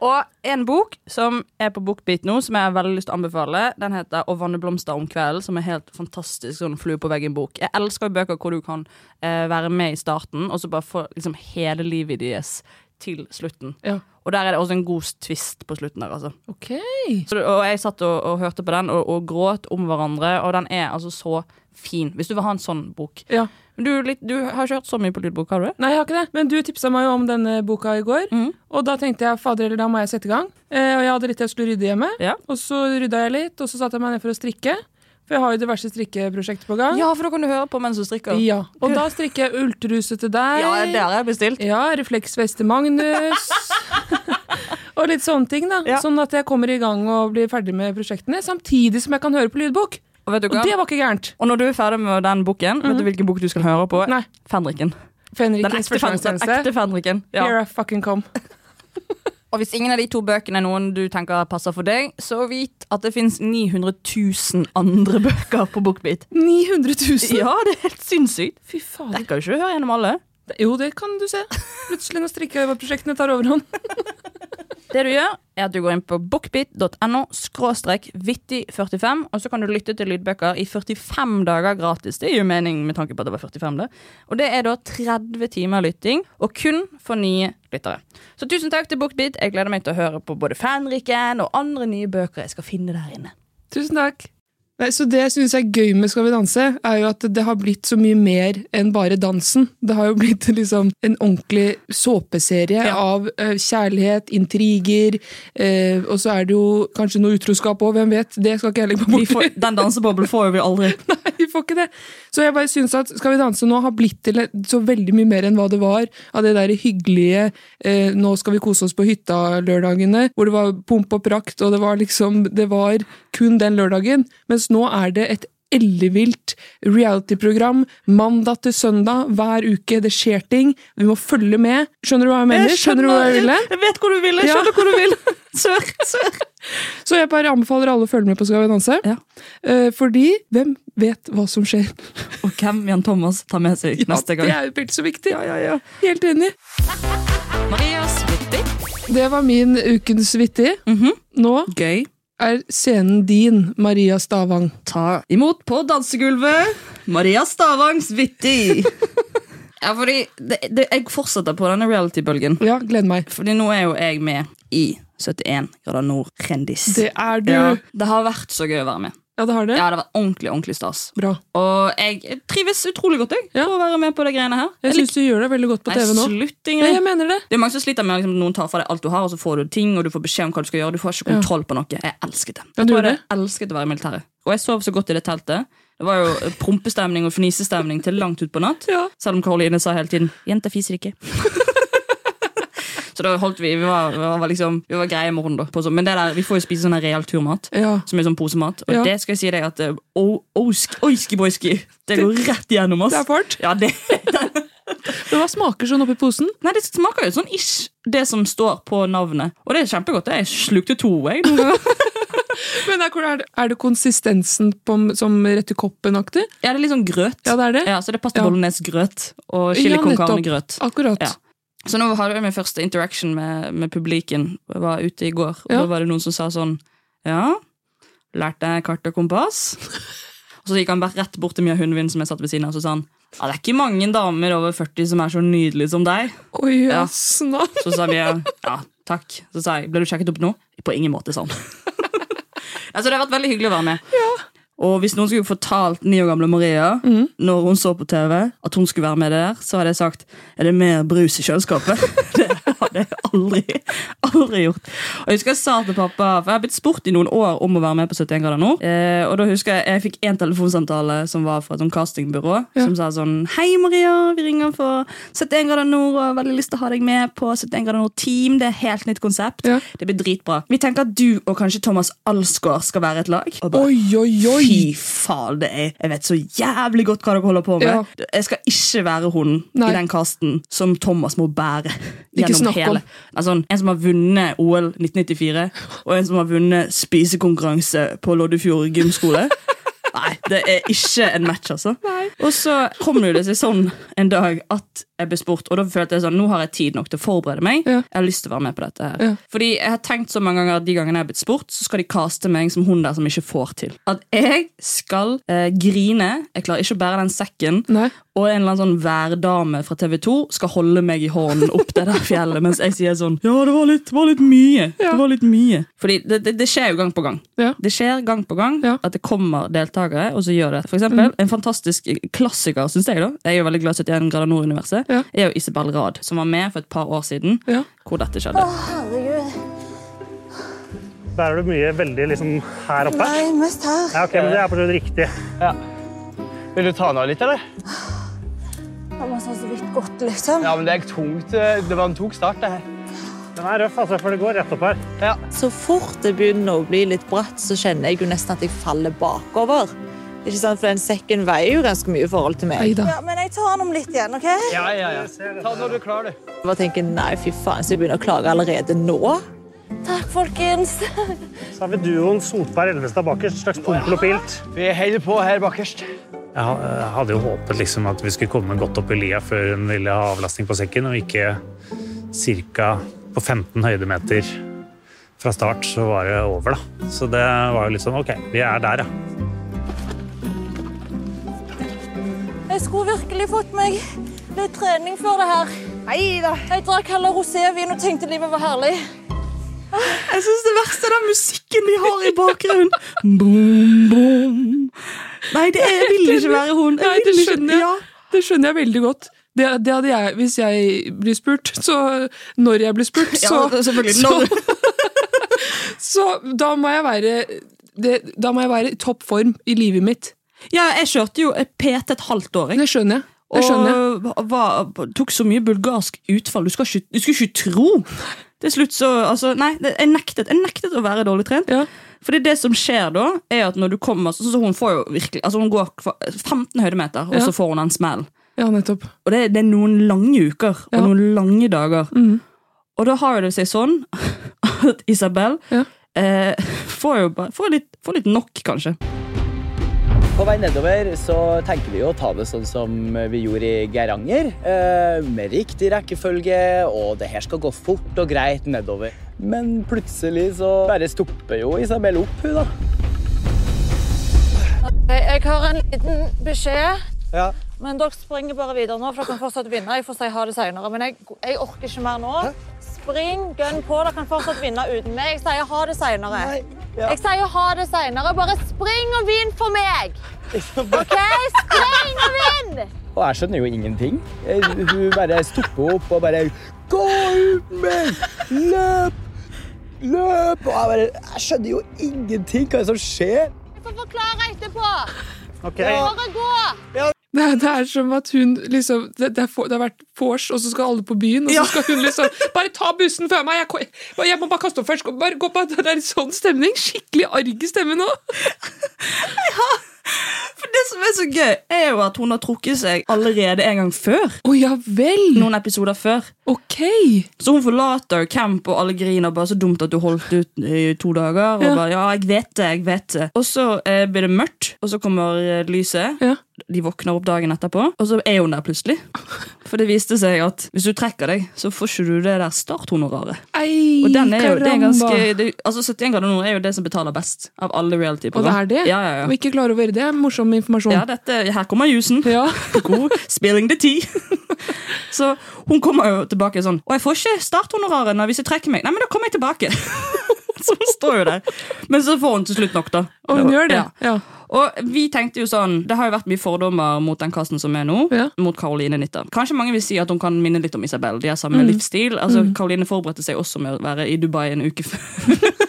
Og en bok som er på Bookbeat nå, som jeg har veldig lyst til å anbefale, den heter Å vanne blomster om kvelden, som er helt fantastisk sånn flue på veggen-bok. Jeg elsker jo bøker hvor du kan eh, være med i starten, og så bare få liksom hele livet deres til slutten. Og der er det også en god twist på slutten der, altså. Så, det- og jeg satt og, og hørte på den og, og gråt om hverandre, og den er altså så fin. Hvis du vil ha en sånn bok. Men du, er litt, du har ikke hørt så mye på lydbok, har du?
Nei, jeg har ikke det. Men du tipsa meg jo om denne boka i går.
Mm.
Og da tenkte jeg fader eller da må jeg sette i gang. Eh, og jeg hadde litt jeg skulle rydde hjemme. Og så rydda jeg litt, og så satte jeg meg ned for å strikke. For jeg har jo diverse strikkeprosjekter på gang.
Ja, for da kan du høre på mens du strikker.
Ja, Og da strikker jeg ultruse til deg.
Ja, det har jeg bestilt.
Ja, refleksvest til Magnus. og litt sånne ting, da. Sånn at jeg kommer i gang og blir ferdig med prosjektene, samtidig som jeg kan høre på lydbok.
Og, vet du hva?
det var ikke gærent.
Og når du er ferdig med den boken, vet du hvilken bok du skal høre på? Mhm. Nei. Fenriken.
Fenrikens
Den ekte Fenriken.
førstegangstjeneste.
Den ekte Fenriken.
Here I fucking come.
Og hvis ingen av de to bøkene er noen du tenker passer for deg, så vit at det fins 900 000 andre bøker på Bookbeat.
900 000?
Ja, det er helt sinnssykt.
Fy faen.
Rekker jo ikke å høre gjennom alle.
Jo, det kan du se. Plutselig når strikkeøverprosjektene tar overhånd.
Det du gjør, er at du går inn på bookbit.no skråstrek vittig45, og så kan du lytte til lydbøker i 45 dager gratis. Det gir jo mening med tanke på at det var 45, det. Og det er da 30 timer lytting, og kun for nye lyttere. Så tusen takk til Bookbit. Jeg gleder meg til å høre på både Fanriken og andre nye bøker jeg skal finne der inne.
Tusen takk. Nei, så Det jeg synes er gøy med Skal vi danse, er jo at det har blitt så mye mer enn bare dansen. Det har jo blitt liksom en ordentlig såpeserie av eh, kjærlighet, intriger, eh, og så er det jo kanskje noe utroskap òg, hvem vet? Det skal ikke jeg legge på bordet.
Den danseboblen får vi aldri.
Nei, vi får ikke det. Så jeg bare synes at Skal vi danse nå har blitt til et- så veldig mye mer enn hva det var av det der hyggelige eh, 'nå skal vi kose oss på hytta'-lørdagene, hvor det var pomp og prakt, og det var liksom Det var kun den lørdagen. Mens nå er det et ellevilt reality-program mandag til søndag hver uke. Det skjer ting. Vi må følge med. Skjønner du hva jeg mener?
Jeg
Skjønner du hva jeg ville?
Jeg vet hvor du ville.
Ja.
Skjønner hvor du vil. Sør, sør.
Så jeg bare anbefaler alle å følge med på Skal vi danse. Eh, Fordi hvem vet hva som skjer?
Og hvem Jan Thomas tar med seg neste gang.
Det er jo vel så viktig. Helt enig.
Marias vittig.
Det var min ukens vittig. Nå er scenen din, Maria Stavang.
Ta imot på dansegulvet Maria Stavangs vittig.
Ja, fordi det, det, jeg fortsetter på denne reality-bølgen.
Ja, gleder meg.
Fordi nå er jo jeg med i 71 grader nord-kjendis.
Det er du.
Ja, det har vært så gøy å være med.
Ja, det har det.
Ja, det har vært ordentlig, ordentlig stas.
Bra.
Og jeg trives utrolig godt jeg, på å være med på de greiene her.
Jeg syns du gjør det veldig godt på
Nei,
TV nå.
slutt, Ingrid.
Nei, jeg mener det.
Det er mange som sliter med at liksom, noen tar fra deg alt du har, og så får du ting, og du får beskjed om hva du skal gjøre. Du får ikke
Ja.
kontroll på noe. Jeg elsket det.
Ja,
Jeg
du
tror
gjorde
jeg elsket å være i militæret. Og jeg sov så godt i det teltet. Det var jo eh, prompestemning og fnisestemning til langt utpå natt. Selv om Karoline sa hele tiden 'jenter fiser ikke'. Så da holdt vi, vi var, vi var, liksom, vi var greie i morgen da på sånn. Men det der, vi får jo spise sånn her real turmat
Ja.
Som er sånn posemat Og
Ja.
det skal jeg si deg at eh, o- oisk- Oiski-boiski Det går rett igjennom oss
Det er fart.
Ja, det
Men hva smaker sånn oppi posen?
Nei, det smaker jo sånn ish Det som står på navnet Og det er kjempegodt Jeg slukte to jeg noen ganger.
Men er, er, det, er det konsistensen på, som rett i koppen-aktig?
Ja, det er litt sånn grøt
Ja, det er det.
Ja, så det er pasta bolognese grøt Og chili
Ja,
con
nettopp.
carne grøt
Akkurat.
Ja. Så nå hadde jeg min første interaction med, med publiken Jeg var ute i går Og
Ja.
da var det noen som sa sånn Ja, lærte jeg kart og kompass Og så gikk han bare rett bort til Mia Hundvin Som jeg satt ved siden av Og så sa han Ja, det er ikke mange damer over 40 som er så nydelige som deg
Oi,
Ja.
jøssen da.
Så sa Mia Ja, takk Så sa jeg Ble du sjekket opp nå? På ingen måte, sa han Altså, det har vært veldig hyggelig å være med. Og hvis noen skulle fortalt ni år gamle Maria når hun så på TV at hun skulle være med der, så hadde jeg sagt er det mer brus i kjøleskapet. det hadde har jeg aldri, aldri gjort. Og Jeg husker jeg sa til pappa For jeg har blitt spurt i noen år om å være med på 71 grader nå. Eh, og da husker jeg jeg fikk en telefonsamtale som var fra et sånn castingbyrå. Som sa sånn Hei, Maria. Vi ringer for 71 grader nord og har veldig lyst til å ha deg med på 71 grader nord Team. Det er et helt nytt konsept. Det blir dritbra. Vi tenker at du og kanskje Thomas Alsgaard skal være et lag. Og bare, Fy faen, det er Jeg vet så jævlig godt hva dere holder på med.
Ja.
Jeg skal ikke være hun
Nei.
i den casten som Thomas må bære
Ikke
gjennom
snakk om.
hele. Altså, en som har vunnet OL 1994, og en som har vunnet spisekonkurranse på Loddefjord gymskole. Nei, det er ikke en match, altså. Og så kom det jo det seg sånn en dag at jeg ble spurt, og da følte jeg sånn, nå har jeg tid nok til å forberede meg. Jeg har lyst til å være med på dette her.
Ja.
Fordi jeg har tenkt så mange ganger at de gangene jeg har blitt spurt, så skal de kaste meg som hun der som ikke får til. At jeg skal eh, grine, jeg klarer ikke å bære den sekken, og en eller annen sånn værdame fra TV 2 skal holde meg i hånden opp det der fjellet, mens jeg sier sånn, ja, det var litt, det var litt mye, det var litt mye. Fordi det, det, det skjer jo gang på gang. Det skjer gang på gang at det kommer deltakere, og så gjør det. For eksempel, en fantastisk klassiker, synes jeg da, jeg er jo veldig glad i 71 grader nord-universet, er jo Isabel Rad, som var med for et par år siden, hvor dette skjedde.
herregud.
Bærer du mye veldig liksom her oppe?
Nei, mest her.
Ja, ok, men det er på det riktig. Ja. Vil du ta den av litt, eller?
Det var så vidt godt, liksom.
Ja, men det er tungt. eh, Det var en tung start, det her. Den er røff, altså, for det går rett opp her.
Så fort det begynner å bli litt bratt, så kjenner jeg jo nesten at jeg faller bakover. Ikke sant? For den sekken veier jo ganske mye i forhold til meg.
Ja, men jeg tar den om litt igjen, OK?
Ja, ja, ja.
Ta den når du er klar, du.
Jeg bare tenker, nei, fy faen, så jeg begynner å klage allerede nå.
Takk, folkens.
Så har vi duoen Solberg-Elvestad bakerst, slags pump og pilt.
Vi holder på her bakerst.
Jeg ha- jeg hadde jo håpet liksom at vi skulle komme godt opp i lia før hun ville ha avlastning på sekken, og ikke cirka på 15 høydemeter fra start så var det over da. Så det var jo litt sånn, ok, vi er der ja.
Jeg skulle virkelig fått meg litt trening før det her. Neida. Jeg drakk heller rosévin og tenkte livet var herlig.
Jeg syns det verste er den musikken de har i bakgrunnen. Boom, boom. Nei, det er, jeg vil ikke være hun.
Nei,
Jeg
det
vil ikke,
skjønner jeg, det skjønner jeg veldig godt. Det, det hadde jeg, Hvis jeg blir spurt, så Når jeg blir spurt,
Ja,
så
selvfølgelig,
Så, så da må jeg være det, Da må jeg være i topp form i livet mitt.
Ja, jeg kjørte jo PT et halvt år.
Det skjønner jeg. Det skjønner jeg.
Og var, tok så mye bulgarsk utfall. Du, skal ikke, du skulle ikke tro! Til slutt så altså, Nei, det- jeg nektet, jeg nektet å være dårlig trent. Fordi det som skjer da, er at når du kommer så, så Hun får jo virkelig Altså hun går for 15 høydemeter, og
Ja.
så får hun en smell.
Ja, nettopp.
Og det, det er noen lange uker og noen lange dager.
Mhm.
Og da har jo det seg sånn at Isabel eh, får jo bare får litt, får litt nok, kanskje.
På vei nedover så tenker vi jo å ta det sånn som vi gjorde i Geiranger. eh, Med riktig rekkefølge, og det her skal gå fort og greit nedover. Men plutselig så bare stopper jo Isabel opp, hun da.
Jeg, jeg har en liten beskjed.
Ja.
Men dere springer bare videre nå, for dere kan fortsatt vinne. Jeg får si ha det senere, men jeg, jeg orker ikke mer nå. Spring, gønn på. Dere kan fortsatt vinne uten meg. Jeg sier ha det senere. Jeg sier ha det senere. Bare spring og vinn for meg! OK? Spring og vinn!
Og jeg skjønner jo ingenting. Eh, Hun bare stopper opp og bare Gå ut med Løp! Løp! Og jeg bare Jeg skjønner jo ingenting hva er det som skjer.
Jeg får forklare etterpå.
Ok.
Bare gå.
Det, er- det er som at hun liksom Det, det, er for, det har vært vors, og så skal alle på byen, og så skal hun liksom Bare ta bussen før meg! Jeg, ko- jeg må bare kaste opp først! Gå- Bare gå på Det er en sånn stemning! Skikkelig arg stemme nå!
For det som er så gøy, er jo at hun har trukket seg allerede en gang før.
Oh, ja vel
Noen episoder før.
Ok
Så hun forlater camp, og alle griner. bare Så dumt at du holdt ut i to dager. Og
Ja.
bare, ja, jeg vet det, jeg vet det. Og så eh, blir det mørkt, og så kommer eh, lyset. De våkner opp dagen etterpå, og så er hun der plutselig. For det viste seg at hvis du trekker deg, så får ikke du det der starthonoraret.
Ei,
Og den er jo, det er ganske,
karamba.
det, altså 71 grader nord er jo det som betaler best av alle
Og det
reality-program.
er det?
Ja, ja, ja.
Og ikke klar over det? er Morsom informasjon.
Ja, dette, her kommer jusen. God spilling the tea. Så hun kommer jo tilbake sånn Og jeg får ikke starthonoraret når- hvis jeg trekker meg. Nei, men da kommer jeg tilbake. Så hun står jo der. Men så får hun til slutt nok, da.
Og hun gjør det,
Og vi tenkte jo sånn Det har jo vært mye fordommer mot den kassen som er nå. Mot Caroline Nitter. Kanskje mange vil si at hun kan minne litt om Isabel. De har samme
Mm.
livsstil. Altså,
Mm.
Caroline forberedte seg også med å være i Dubai en uke før.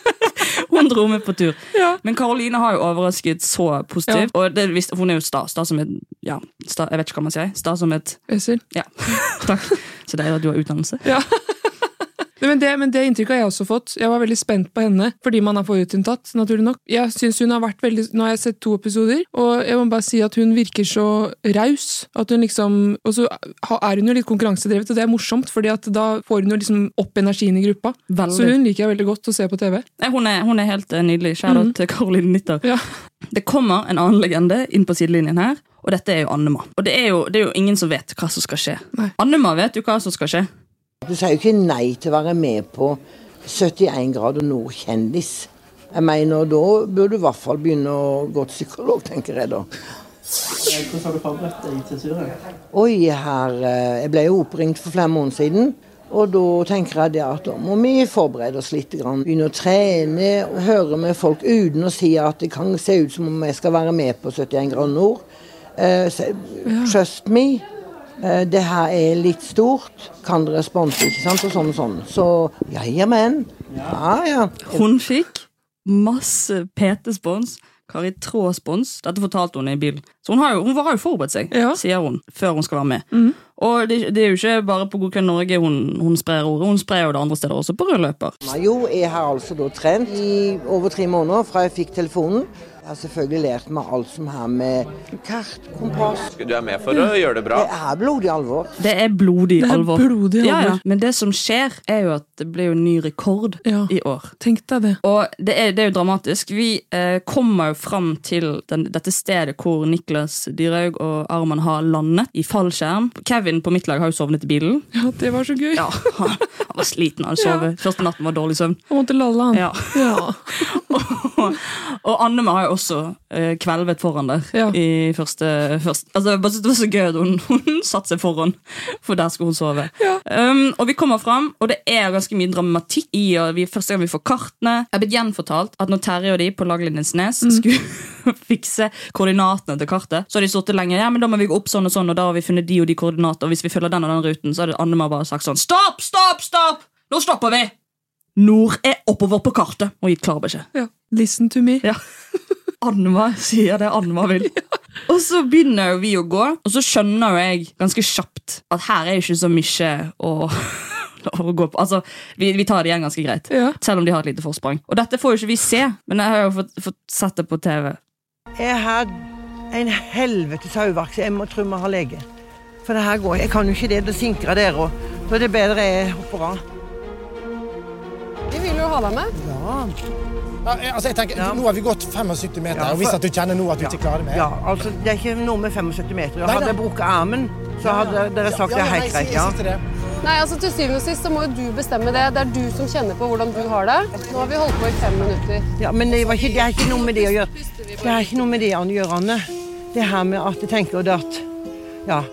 Hun dro med på tur. Men Caroline har jo overrasket så positivt. Og det visste, hun er jo sta. Sta som et ja, sta, Jeg vet ikke hva man sier. Sta som et
Øystein.
Ja. Takk. Så deilig at du har utdannelse.
Nei, men, det, men det inntrykket har jeg også fått. Jeg var veldig spent på henne, fordi man er forutinntatt, naturlig nok. Jeg synes hun har vært veldig, Nå har jeg sett to episoder, og jeg må bare si at hun virker så raus. At hun liksom, og så ha- er hun jo litt konkurransedrevet, og det er morsomt, fordi at da får hun jo liksom opp energien i gruppa.
Veldig.
Så hun liker jeg veldig godt å se på TV.
Nei, hun, er, hun er helt eh, nydelig. Kjære
Mm.
Mhm.
til Caroline Nitter. Det kommer en annen legende inn på sidelinjen her, og dette er jo Annema. Og det er jo, det er jo ingen som vet hva som skal skje. Annema vet jo hva som skal skje.
Du sier jo ikke nei til å være med på 71 grader nord kjendis. Jeg mener, da bør du i hvert fall begynne å gå til psykolog, tenker jeg da.
Eh, Hvordan har du forberedt deg til turen?
Oi, her, eh, jeg ble jo oppringt for flere måneder siden. Og da tenker jeg det at da må vi forberede oss litt. Grann. Begynne å trene, og høre med folk uten å si at det kan se ut som om jeg skal være med på 71 grader nord. Eh, se- trust me. eh, det her er litt stort. Kan dere sponse, ikke sant? Og sånn og sånn. Så ja, ja, men. Ja, ja.
Hun fikk masse PT-spons. Kari Traa-spons. Dette fortalte hun i bilen. Så hun har jo, hun har jo forberedt seg, sier hun, før hun skal være med.
Mhm.
Og det, det er jo ikke bare på God kveld Norge hun, hun sprer ordet. Hun sprer jo det andre steder også, på rød løper.
Jo, jeg har altså da trent i over tre måneder fra jeg fikk telefonen. Jeg har selvfølgelig lært meg alt som har med kart, kompass
Du er med for å gjøre det bra.
Det er blodig alvor.
Det er blodig
Det er
alvor.
blodig
Ja, ja.
alvor.
Men det som skjer, er jo at det blir jo ny rekord i år.
Tenk deg det.
Og det er, det er jo dramatisk. Vi eh, kommer jo fram til den, dette stedet hvor Niklas Dyrhaug og Arman har landet, i fallskjerm. Kevin på mitt lag har jo sovnet i bilen.
Ja, det var så gøy.
Ja, han, han var sliten av å sove. Første natten var dårlig søvn.
Han måtte lalle, han.
Ja. og, og Annema har jo også eh, kvelvet foran der. I første, første altså, jeg bare synes Det var så gøy at hun, hun satte seg foran, for der skulle hun sove. Um, og vi kommer fram, og det er ganske mye dramatikk i og vi, første gang vi får kartene. Jeg er blitt gjenfortalt at når Terje og de på Laglinjensnes skulle fikse koordinatene til kartet, så har de sittet lenge ja, men da må vi gå opp sånn og sånn, og da har vi funnet de og de koordinater, og hvis vi følger den og den ruten, så hadde Annema bare sagt sånn Stopp, stopp, stopp! Nå stopper vi! Nord er oppover på kartet, og gitt klar beskjed.
Ja. Listen to me.
Ja. Annema sier det Annema vil. Og så begynner jo vi å gå, og så skjønner jo jeg ganske kjapt at her er ikke så mye å, å gå på. Altså, vi, vi tar det igjen ganske greit, selv om de har et lite forsprang. Og dette får jo ikke vi se, men jeg har jo fått, fått sett det på TV.
Jeg har en helvetes hodeverk, så jeg må tro vi har lege. For det her går Jeg kan jo ikke det. Da sinker jeg dere òg. Da er det bedre jeg hopper av.
Vi vil jo ha deg med. Ja. jeg- altså, jeg tenker, Nå har vi gått 75 meter,
Ja,
og hvis
for-
at du kjenner nå at du ikke klarer mer
Ja, altså, Det er ikke noe med 75 meter.
Nei,
Hadde
nei.
jeg brukket armen, så hadde dere sagt det er helt greit. ja.
Nei, altså Til syvende og sist så må jo du bestemme det. Det er du som kjenner på hvordan du har det. Nå har vi holdt på i fem minutter.
Ja, men det, var ikke, det er ikke noe med det å gjøre. Det er ikke noe med det å gjøre, Anne. Det her med at jeg tenker det at Ja.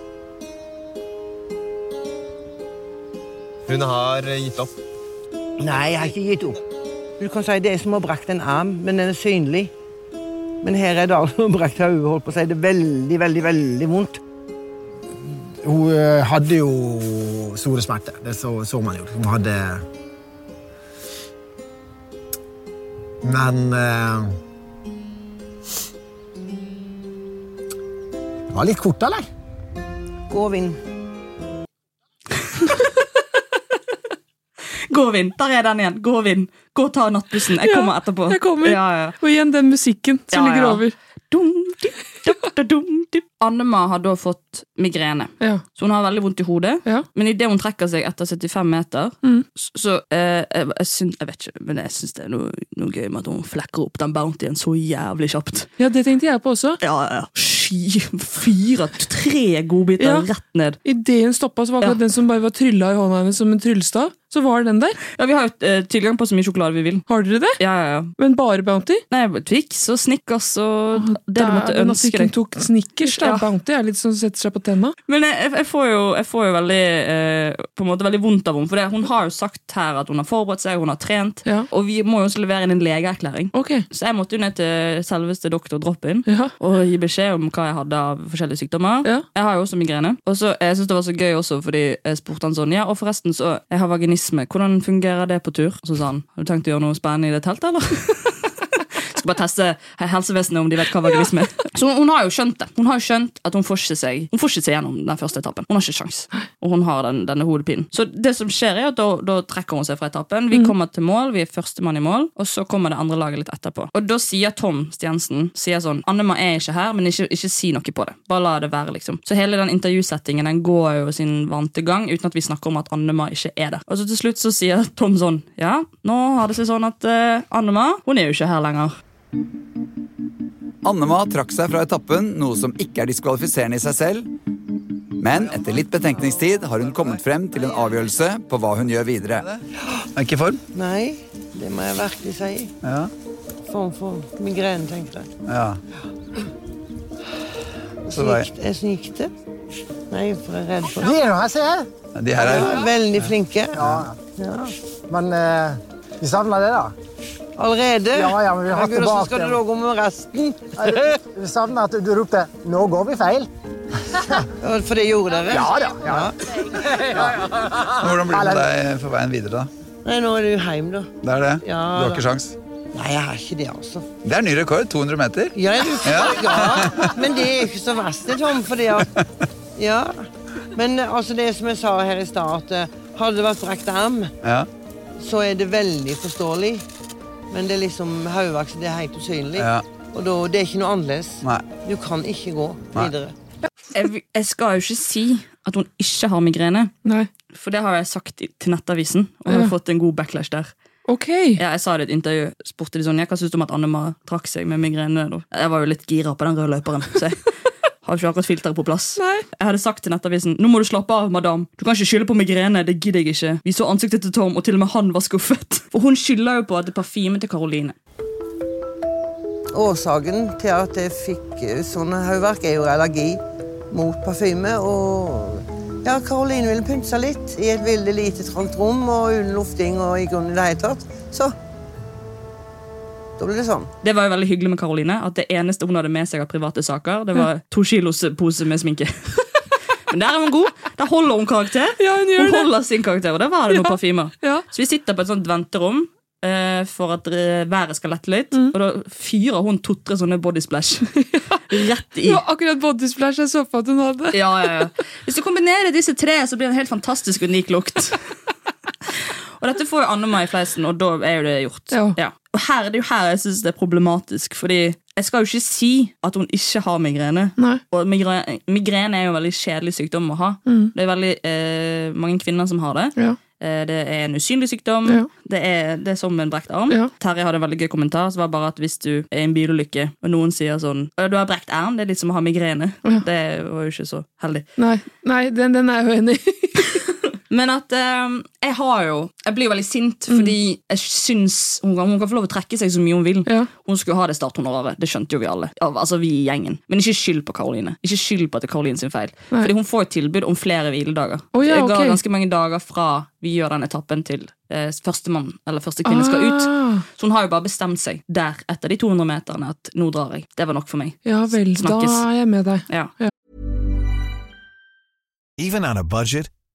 Hun har gitt opp.
Nei, jeg har ikke gitt opp. Du kan si det er som å ha brakt en arm, men den er synlig. Men her er det altså brakt hodet, holdt på å si. Det er veldig, veldig, veldig vondt.
Hun eh, hadde jo store smerter. Det så, så man jo. Hun hadde Men eh, Det var litt kort, eller?
Gå og vinn.
Gå og vinn! Der er den igjen. Gå og vinn. Gå og ta nattbussen. Jeg
Ja,
kommer etterpå.
jeg kommer.
Ja, ja.
Og igjen den musikken som
Ja,
ligger
ja.
over.
Annema har da fått migrene. Så hun har veldig vondt i hodet. Men idet hun trekker seg etter 75 meter,
Mm.
s- så eh, jeg, jeg, syns, jeg vet ikke, men jeg syns det er noe, noe gøy med at hun flekker opp den bountyen så jævlig kjapt.
Ja, det tenkte jeg på også.
Ja, ja. Sky, fire, tre godbiter
Ja.
rett ned.
Idet hun stoppa, så var akkurat den som bare var trylla i hånda hennes som en tryllestav. så var den der.
Ja, Vi har jo eh, tilgang på så mye sjokolade vi vil.
Har dere det?
Ja, ja, ja.
Men bare Bounty?
Nei, Twix og Snickers og det du måtte
Dæven, at du
ønske
ikke
deg.
tok Snickers, da.
Ja.
Bounty er litt sånn setter seg på tenna.
Men jeg, jeg- jeg, får jo, jeg får jo veldig eh, På en måte veldig vondt av henne. For det, hun har jo sagt her at hun har forberedt seg, hun har trent. Og vi må jo også levere inn en legeerklæring. Så jeg måtte jo ned til selveste doktor Drop-In og gi beskjed om hva jeg hadde av forskjellige sykdommer. Jeg har jo også migrene. Og så jeg synes det var så gøy også fordi jeg spurte han sånn Ja, og forresten, så jeg har vaginisme. Hvordan fungerer det på tur? Og så sa han Har du tenkt å gjøre noe spennende i det teltet, eller? skal bare teste helsevesenet om de vet hva vaginisme er. Så hun, hun har jo skjønt det. Hun har jo skjønt at hun får ikke seg Hun får ikke seg gjennom den første etappen. Hun har ikke sjans. Og hun har den, denne hodepinen. Så det som skjer, er at da, da trekker hun seg fra etappen. Vi kommer til mål, vi er førstemann i mål, og så kommer det andre laget litt etterpå. Og da sier Tom Stiensen sier sånn Annema er ikke her, men ikke, ikke si noe på det. Bare la det være, liksom. Så hele den intervjusettingen den går jo sin vante gang uten at vi snakker om at Annema ikke er der. Og så til slutt så sier Tom sånn Ja, nå har det seg sånn at eh, Annema, hun er jo ikke her lenger.
Annema trakk seg fra etappen, noe som ikke er diskvalifiserende i seg selv. Men etter litt betenkningstid har hun kommet frem til en avgjørelse på hva hun gjør videre. Er ikke i form?
Nei, det må jeg virkelig si.
Ja.
Form for migrene, tenkte jeg.
Ja. Så var jeg-
Snikt, jeg snikte. Nei, for jeg er redd for det. er noe jeg ser.
De her er
Veldig flinke. Ja. Men eh, vi savner det, da. Allerede?
Ja, ja, men vi har hatt
Herregud,
det bak
Hvordan skal
igjen.
du da gå med resten?
Vi savner at du ropte 'nå går vi feil'.
Ja, For det gjorde dere?
Ja da,
Ja.
Hvordan blir det med deg for veien videre, da?
Nei, nå er du hjemme, da.
Det er det?
Ja,
du har
da.
ikke sjans?
Nei, jeg har ikke det, altså.
Det er ny rekord. 200 meter.
Ja, er du fri? ja. Men det er ikke så verst, det, Tom. Fordi at, ja. Men eh, altså, det som jeg sa her i stad, at eh, hadde det vært brekt arm,
Ja.
så er det veldig forståelig. Men det er liksom hodeverk, så det er helt usynlig.
Ja.
Og da, det er ikke noe annerledes.
Nei.
Du kan ikke gå
Nei.
videre.
jeg, jeg skal jo ikke si at hun ikke har migrene. For det har jeg sagt i- til Nettavisen, og har
Ja.
fått en god backlash der. Ja, jeg sa det i et intervju. Spurte de sånn, ja, Hva syns du om at Anne-Ma trakk seg med migrene? da?» Jeg var jo litt gira på den røde løperen. så jeg... Har ikke akkurat filteret på plass. Jeg hadde sagt til Nettavisen nå må du slappe av, madam. Du kan ikke skylde på migrene. det gidder jeg ikke. Vi så ansiktet til Tom, og til og med han var skuffet. For hun skylder jo på at det er parfymen til Karoline.
Årsaken til at jeg fikk eh, sånne hodeverk, er jo allergi mot parfyme. Og ja, Karoline ville pynte seg litt i et veldig lite trangt rom og uten lufting og i grunnen i det hele tatt. Så da ble det sånn.
Det var jo veldig hyggelig med Karoline At det eneste hun hadde med seg av private saker, Det var to kilos eh, pose med sminke. Men der er hun god. Der holder hun karakter. hun
gjør det.
holder sin karakter, og der var det noen
Ja.
parfymer.
Ja.
Så vi sitter på et sånt venterom eh, for at eh, været skal lette litt,
Mm.
og da fyrer hun to-tre sånne body splash. Rett i.
Det var akkurat bodysplash jeg så for at hun hadde.
Ja, ja, ja. Hvis du kombinerer disse tre, så blir det en helt fantastisk unik lukt. Og dette får jo Anne-Mai i fleisen, og da er jo det gjort. Ja. Og her, Det er jo her jeg syns det er problematisk, fordi jeg skal jo ikke si at hun ikke har migrene. Og migrene, migrene er jo en veldig kjedelig sykdom å ha.
Mm.
Det er veldig eh, mange kvinner som har det. Eh, Det er en usynlig sykdom. Det, er, det er som en brekt arm. Terje hadde en veldig gøy kommentar. Som var bare at Hvis du er i en bilulykke, og noen sier sånn «Å, 'Du har brekt arm', det er litt som å ha migrene. Det var jo ikke så heldig.
Nei, nei den, den er jeg jo enig i.
Men at eh, jeg har jo Jeg blir jo veldig sint
Mm.
fordi jeg syns hun kan, hun kan få lov å trekke seg så mye hun vil. Hun skulle ha det starthonoraret. Det skjønte jo vi alle. Ja, altså vi i gjengen Men ikke skyld på Karoline. Ikke skyld på at det er Karoline sin feil.
Nei.
Fordi hun får et tilbud om flere hviledager.
Å ja,
jeg ga
ok.
ganske mange dager fra vi gjør den etappen, til eh, førstemann eller første kvinne skal ut.
Ah.
Så hun har jo bare bestemt seg der etter de 200 meterne at nå drar jeg. Det var nok for meg.
Ja vel, da
Snakkes.
er jeg med deg.
Ja.
Even on a budget,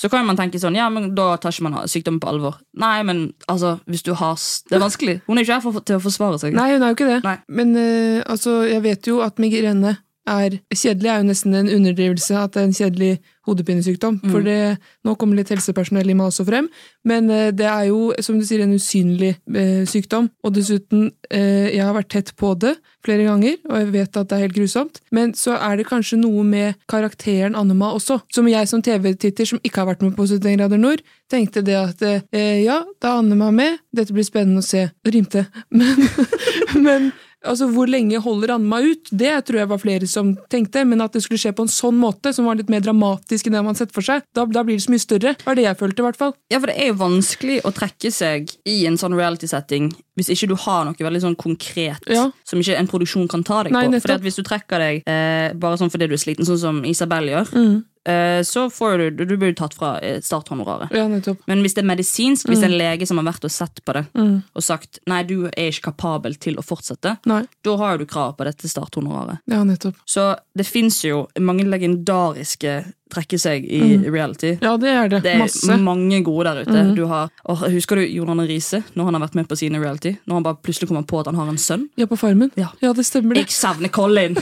Så kan man tenke sånn, ja, men da tar ikke man sykdommen på alvor. Nei, men altså, hvis du har s- Det er vanskelig. Hun er ikke her for, til å forsvare seg.
Nei, hun er jo ikke det. Men eh, altså, jeg vet jo at migrene er Kjedelig er jo nesten en underdrivelse at det er en kjedelig hodepinesykdom.
Mm.
For det, nå kommer litt helsepersonell i meg også frem. Men eh, det er jo, som du sier, en usynlig eh, sykdom. Og dessuten, eh, jeg har vært tett på det flere ganger, og jeg vet at det er helt grusomt. Men så er det kanskje noe med karakteren Annema også. Som jeg som TV-titter, som ikke har vært med på 71 grader nord, tenkte det at eh, ja, da er Annema med, dette blir spennende å se. Det rimte. Men men altså, hvor lenge holder Anne meg ut? Det tror jeg var flere som tenkte. Men at det skulle skje på en sånn måte, som var litt mer dramatisk enn det man har sett for seg, da, da blir det så mye større. Det var det jeg følte, i hvert fall.
Ja, for det er jo vanskelig å trekke seg i en sånn reality-setting hvis ikke du har noe veldig sånn konkret som ikke en produksjon kan ta deg
Nei,
på.
nettopp.
Fordi at hvis du trekker deg eh, bare sånn fordi du er sliten, sånn som Isabel gjør,
Mm.
eh, så får du, du blir du tatt fra eh, starthonoraret.
Ja, nettopp.
Men hvis det er medisinsk, hvis det er en
Mm.
lege som har vært og sett på det,
Mm.
og sagt nei, du er ikke kapabel til å fortsette,
Nei.
da har jo du krav på dette starthonoraret.
Ja, nettopp.
Så det fins jo mange legendariske trekke seg i
Mm.
reality.
Ja, det er det.
Det er
Masse.
mange gode der ute.
Mhm.
Du har, åh, husker du Jon Arne Riise, når han har vært med på sine reality? Når han bare plutselig kommer på at han har en sønn?
Ja, på Farmen. Ja, det stemmer det.
Jeg savner Colin!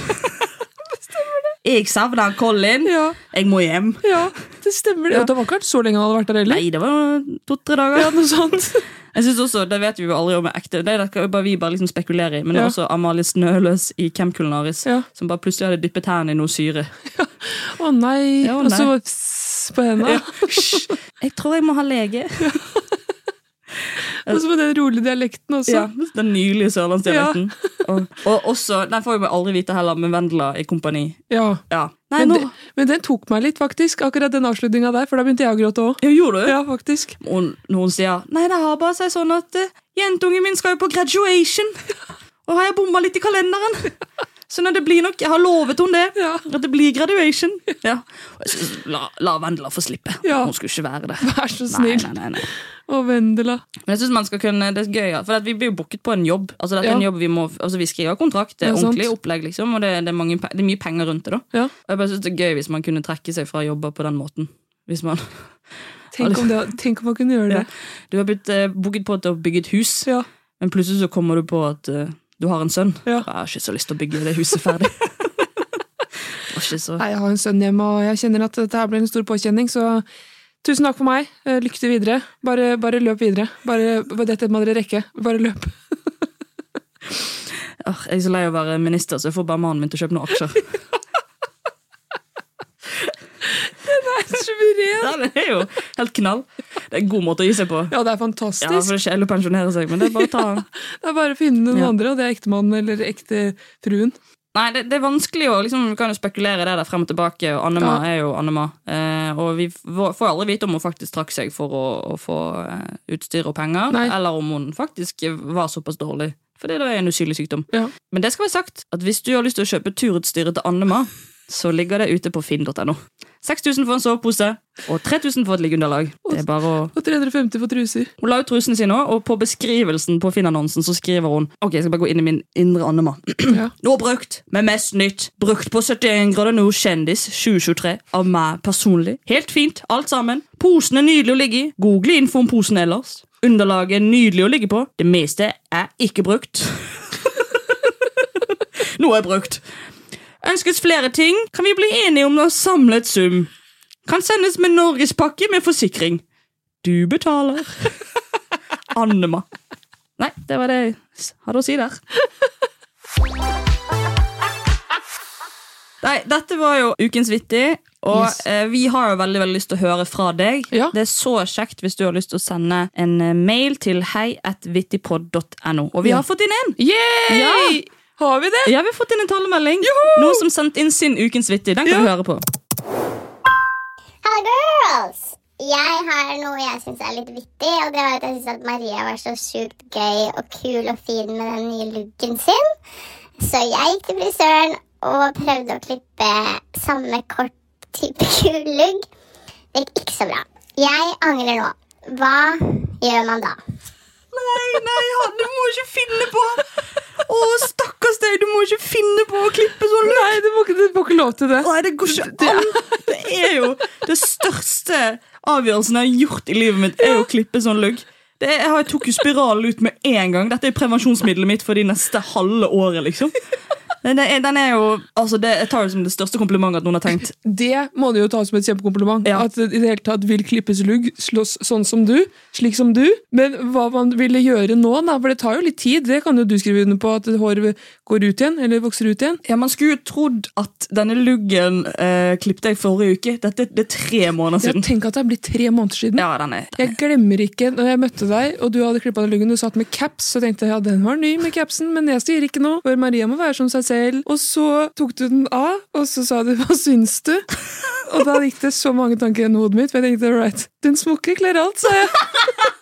Jeg savner Colin! Jeg må hjem.
Ja, det stemmer det. Og det var ikke så lenge han hadde vært der heller.
Nei, det var to-tre dager.
Ja, noe sånt.
Jeg synes også, Det vet vi jo aldri om er ekte. Det er det bare vi bare liksom spekulerer i. Men det
Ja.
er også Amalie Snøløs i Camp Culinaris som bare plutselig hadde dyppet hendene i noe syre.
Å nei.
Ja, å
og så
nei.
pss på henda.
Jeg tror jeg må ha lege.
og så med den rolige dialekten også.
Ja, den nylige sørlandsdialekten. Og, og også, den får vi aldri vite heller, med Vendela i kompani.
Ja.
Ja. Nei,
Men,
nå-
det, men den tok meg litt, faktisk. Akkurat den avslutninga der, for da begynte jeg å gråte òg.
Gjorde du?
Ja, faktisk.
Og når hun sier Nei, det har bare seg sånn at eh, jentungen min skal jo på graduation. Og har jeg bomma litt i kalenderen? Så når det blir nok, jeg har lovet henne det. At det blir graduation. Ja. Og jeg synes, La, la Vendela få slippe. Hun skulle ikke være det.
Vær så snill.
Nei, nei, nei, nei.
Og Vendela.
Men jeg synes man skal kunne, det er gøy, ja, for at vi blir jo booket på en jobb. Altså, dette er en
Ja.
jobb vi, må, altså, vi skriver kontrakt, det er
Ja, sant.
ordentlig opplegg, liksom, og det, det, er mange, pe- det er mye penger rundt det. da. Og jeg bare synes det er gøy hvis man kunne trekke seg fra jobber på den måten. Hvis man...
Tenk om, det, tenk om man kunne gjøre det.
Ja. Du har blitt eh, booket på til å bygge et hus, men plutselig så kommer du på at eh, du har en sønn. Jeg har ikke så lyst til å bygge det huset ferdig. Det var ikke så...
Nei, jeg har en sønn hjemme, og jeg kjenner at dette her blir en stor påkjenning, så tusen takk for meg. Eh, Lykke til videre. Bare, bare løp videre. Bare, bare dette må dere rekke. Bare løp.
Åh, jeg er så lei av å være minister, så jeg får bare mannen min til å kjøpe noen aksjer.
Den er suveren!
Det er jo helt knall. Det er en god måte å gi seg på.
Ja, det er fantastisk.
Ja, for det er kjedelig å pensjonere seg, men det er bare å ta
Det er bare å finne noen
Ja.
andre, og det er ektemannen eller ektefruen.
Nei, det, det er vanskelig å liksom, Vi kan jo spekulere det der frem og tilbake. Og Annema er jo Annema. Eh, og vi f- får aldri vite om hun faktisk trakk seg for å, å få eh, utstyr og penger,
Nei.
eller om hun faktisk var såpass dårlig. Fordi det er en usynlig sykdom. Men det skal være sagt at hvis du har lyst til å kjøpe turutstyret til Annema, så ligger det ute på finn.no. 6000 for en sovepose og 3000 for et liggeunderlag. Det er bare å
Og 350 for truser.
hun la ut trusene sine også, og på beskrivelsen på Finn-annonsen så skriver hun Ok, jeg skal bare gå inn i min indre Annema. Nå brukt, med mest nytt. Brukt på 71 grader nord kjendis 2023 av meg personlig. Helt fint, alt sammen. Posen er nydelig å ligge i. Google info om posen ellers. Underlaget er nydelig å ligge på. Det meste er ikke brukt. Noe er brukt. Ønskes flere ting, kan vi bli enige om å samle et sum. Kan sendes med Norgespakke med forsikring. Du betaler. Annema. Nei, det var det jeg s- hadde å si der. Nei, dette var jo ukens vittig, og
Yes.
eh, vi har jo veldig veldig lyst til å høre fra deg. Det er så kjekt hvis du har lyst til å sende en eh, mail til heiatvittigpod.no. Og vi
Ja.
har fått inn en!
Yay! Har vi det?
Ja, vi har fått inn en talemelding. Noen som sendte inn sin ukens vittig. Den kan du høre på.
Hello girls! Jeg har noe jeg syns er litt vittig, og det var at jeg syns at Maria var så sjukt gøy og kul og fin med den nye looken sin. Så jeg gikk til frisøren og prøvde å klippe samme kort type kul lugg. Det gikk ikke så bra. Jeg angrer nå. Hva gjør man da?
Nei, nei, han, du må ikke finne på Å, stakkars deg, du må ikke finne på å klippe sånn løk.
Nei, du må, ikke- du må ikke lov til det.
Nei, det går ikke an. Det er jo det største avgjørelsen jeg har gjort i livet mitt, er å klippe sånn lugg. Det er, jeg har- jeg tok jo spiralen ut med en gang. Dette er prevensjonsmiddelet mitt for de neste halve året, liksom. Den er, den er jo, altså det, Jeg tar det som det største komplimentet at noen har tenkt.
Det må du jo ta som et kjempekompliment. At det i det hele tatt vil klippes lugg, slåss sånn som du, slik som du. Men hva man ville gjøre nå, da, for det tar jo litt tid, det kan jo du skrive under på, at håret går ut igjen, eller vokser ut igjen.
Ja, Man skulle jo trodd at denne luggen eh, klippet jeg forrige uke. Dette det er tre måneder
Jeg
siden.
tenker at det er blitt tre måneder siden.
Ja, den er
Jeg glemmer ikke når jeg møtte deg, og du hadde klippa den luggen. Du satt med caps, og tenkte jeg, ja, den var ny med capsen, men jeg sier ikke noe. For Maria må være som seg selv. Og så tok du den av, og så sa du hva syns du? Og da gikk det så mange tanker gjennom hodet mitt, for jeg tenkte all right, den smokken kler alt, sa jeg.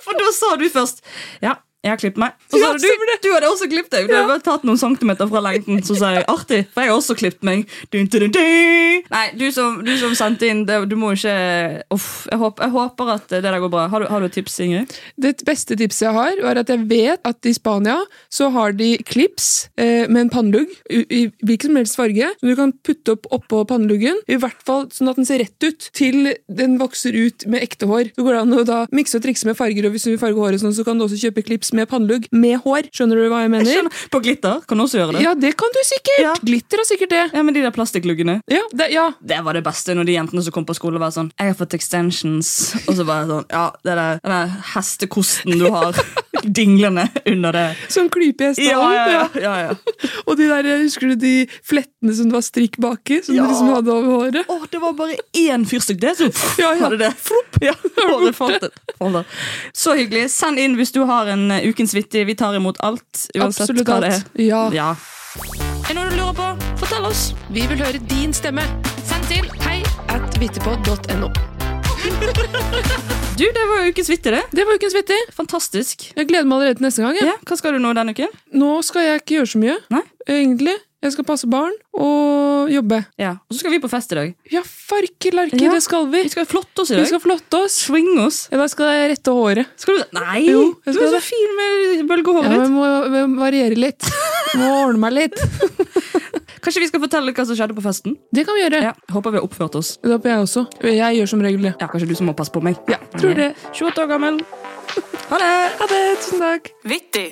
For da sa du først Ja, jeg har klippet meg. Og så
Ja,
hadde du, du hadde også klippet deg. Du hadde bare tatt noen centimeter fra lengden. Så sa jeg artig, for jeg har også klippet meg. Dun, dun, dun, dun. Nei, du som, du som sendte inn, det, du må ikke Uff. Jeg håper, jeg håper at det der går bra. Har du, har du et tips, Ingrid?
Det beste tipset jeg har, var at jeg vet at i Spania så har de klips eh, med en pannelugg i, i hvilken som helst farge, som du kan putte opp oppå panneluggen, i hvert fall sånn at den ser rett ut, til den vokser ut med ekte hår. Så går det an å da mikse og trikse med farger, og hvis du vil farge håret sånn, så kan du også kjøpe klips med pannelugg med hår. Skjønner du hva jeg mener?
På glitter kan du også gjøre det.
Ja, det kan du sikkert! Glitter er sikkert det.
Ja, men de der plastikkluggene.
Ja, det, ja.
Det var det beste når de jentene som kom på skole var sånn Jeg har fått extensions Og så bare sånn, ja, det der, den der hestekosten du har Dinglende under det
Sånn klypehest
ja, ja, ja, ja, ja.
Og de der, eh, husker du de flettene som det var strikk baki, som
Ja.
du liksom hadde over håret?
Åh, det var bare én fyrstikk det, så
ja, ja.
var det det. Ja, håret falt det. Falt det. Så hyggelig. Send inn hvis du har en eh, ukens vittig. Vi tar imot alt. Uansett
Absolutt
hva det er.
alt. Ja.
ja. Er det noe du lurer på? Fortell oss.
Vi vil høre din stemme. Send til hei at vittepod.no.
Du, det var jo ukens vittig, det.
Det var ukens vittig.
Fantastisk.
Jeg gleder meg allerede til neste gang. jeg.
Ja, hva skal du nå denne uken?
Nå skal jeg ikke gjøre så mye, egentlig. Jeg skal passe barn og jobbe.
Ja, Og så skal vi på fest i dag.
Ja, farkelarke,
Ja.
det skal vi. Vi
skal flotte oss i dag.
Vi skal flotte oss.
Swing oss.
Ja, da skal jeg rette håret.
Skal du Nei!
Jo, jeg
du
skal
er så
det.
fin med bølgehåret
Ja,
ditt.
jeg må, jeg må variere litt. Må ordne meg litt.
Kanskje vi skal fortelle hva som skjedde på festen?
Det kan vi gjøre.
Ja, Håper vi har oppført oss.
Det håper jeg også. Jeg gjør som regel det.
Ja, Kanskje du som må passe på meg.
Ja, tror det.
28 år gammel. Ha det!
Ha det. Tusen takk.
Vittig.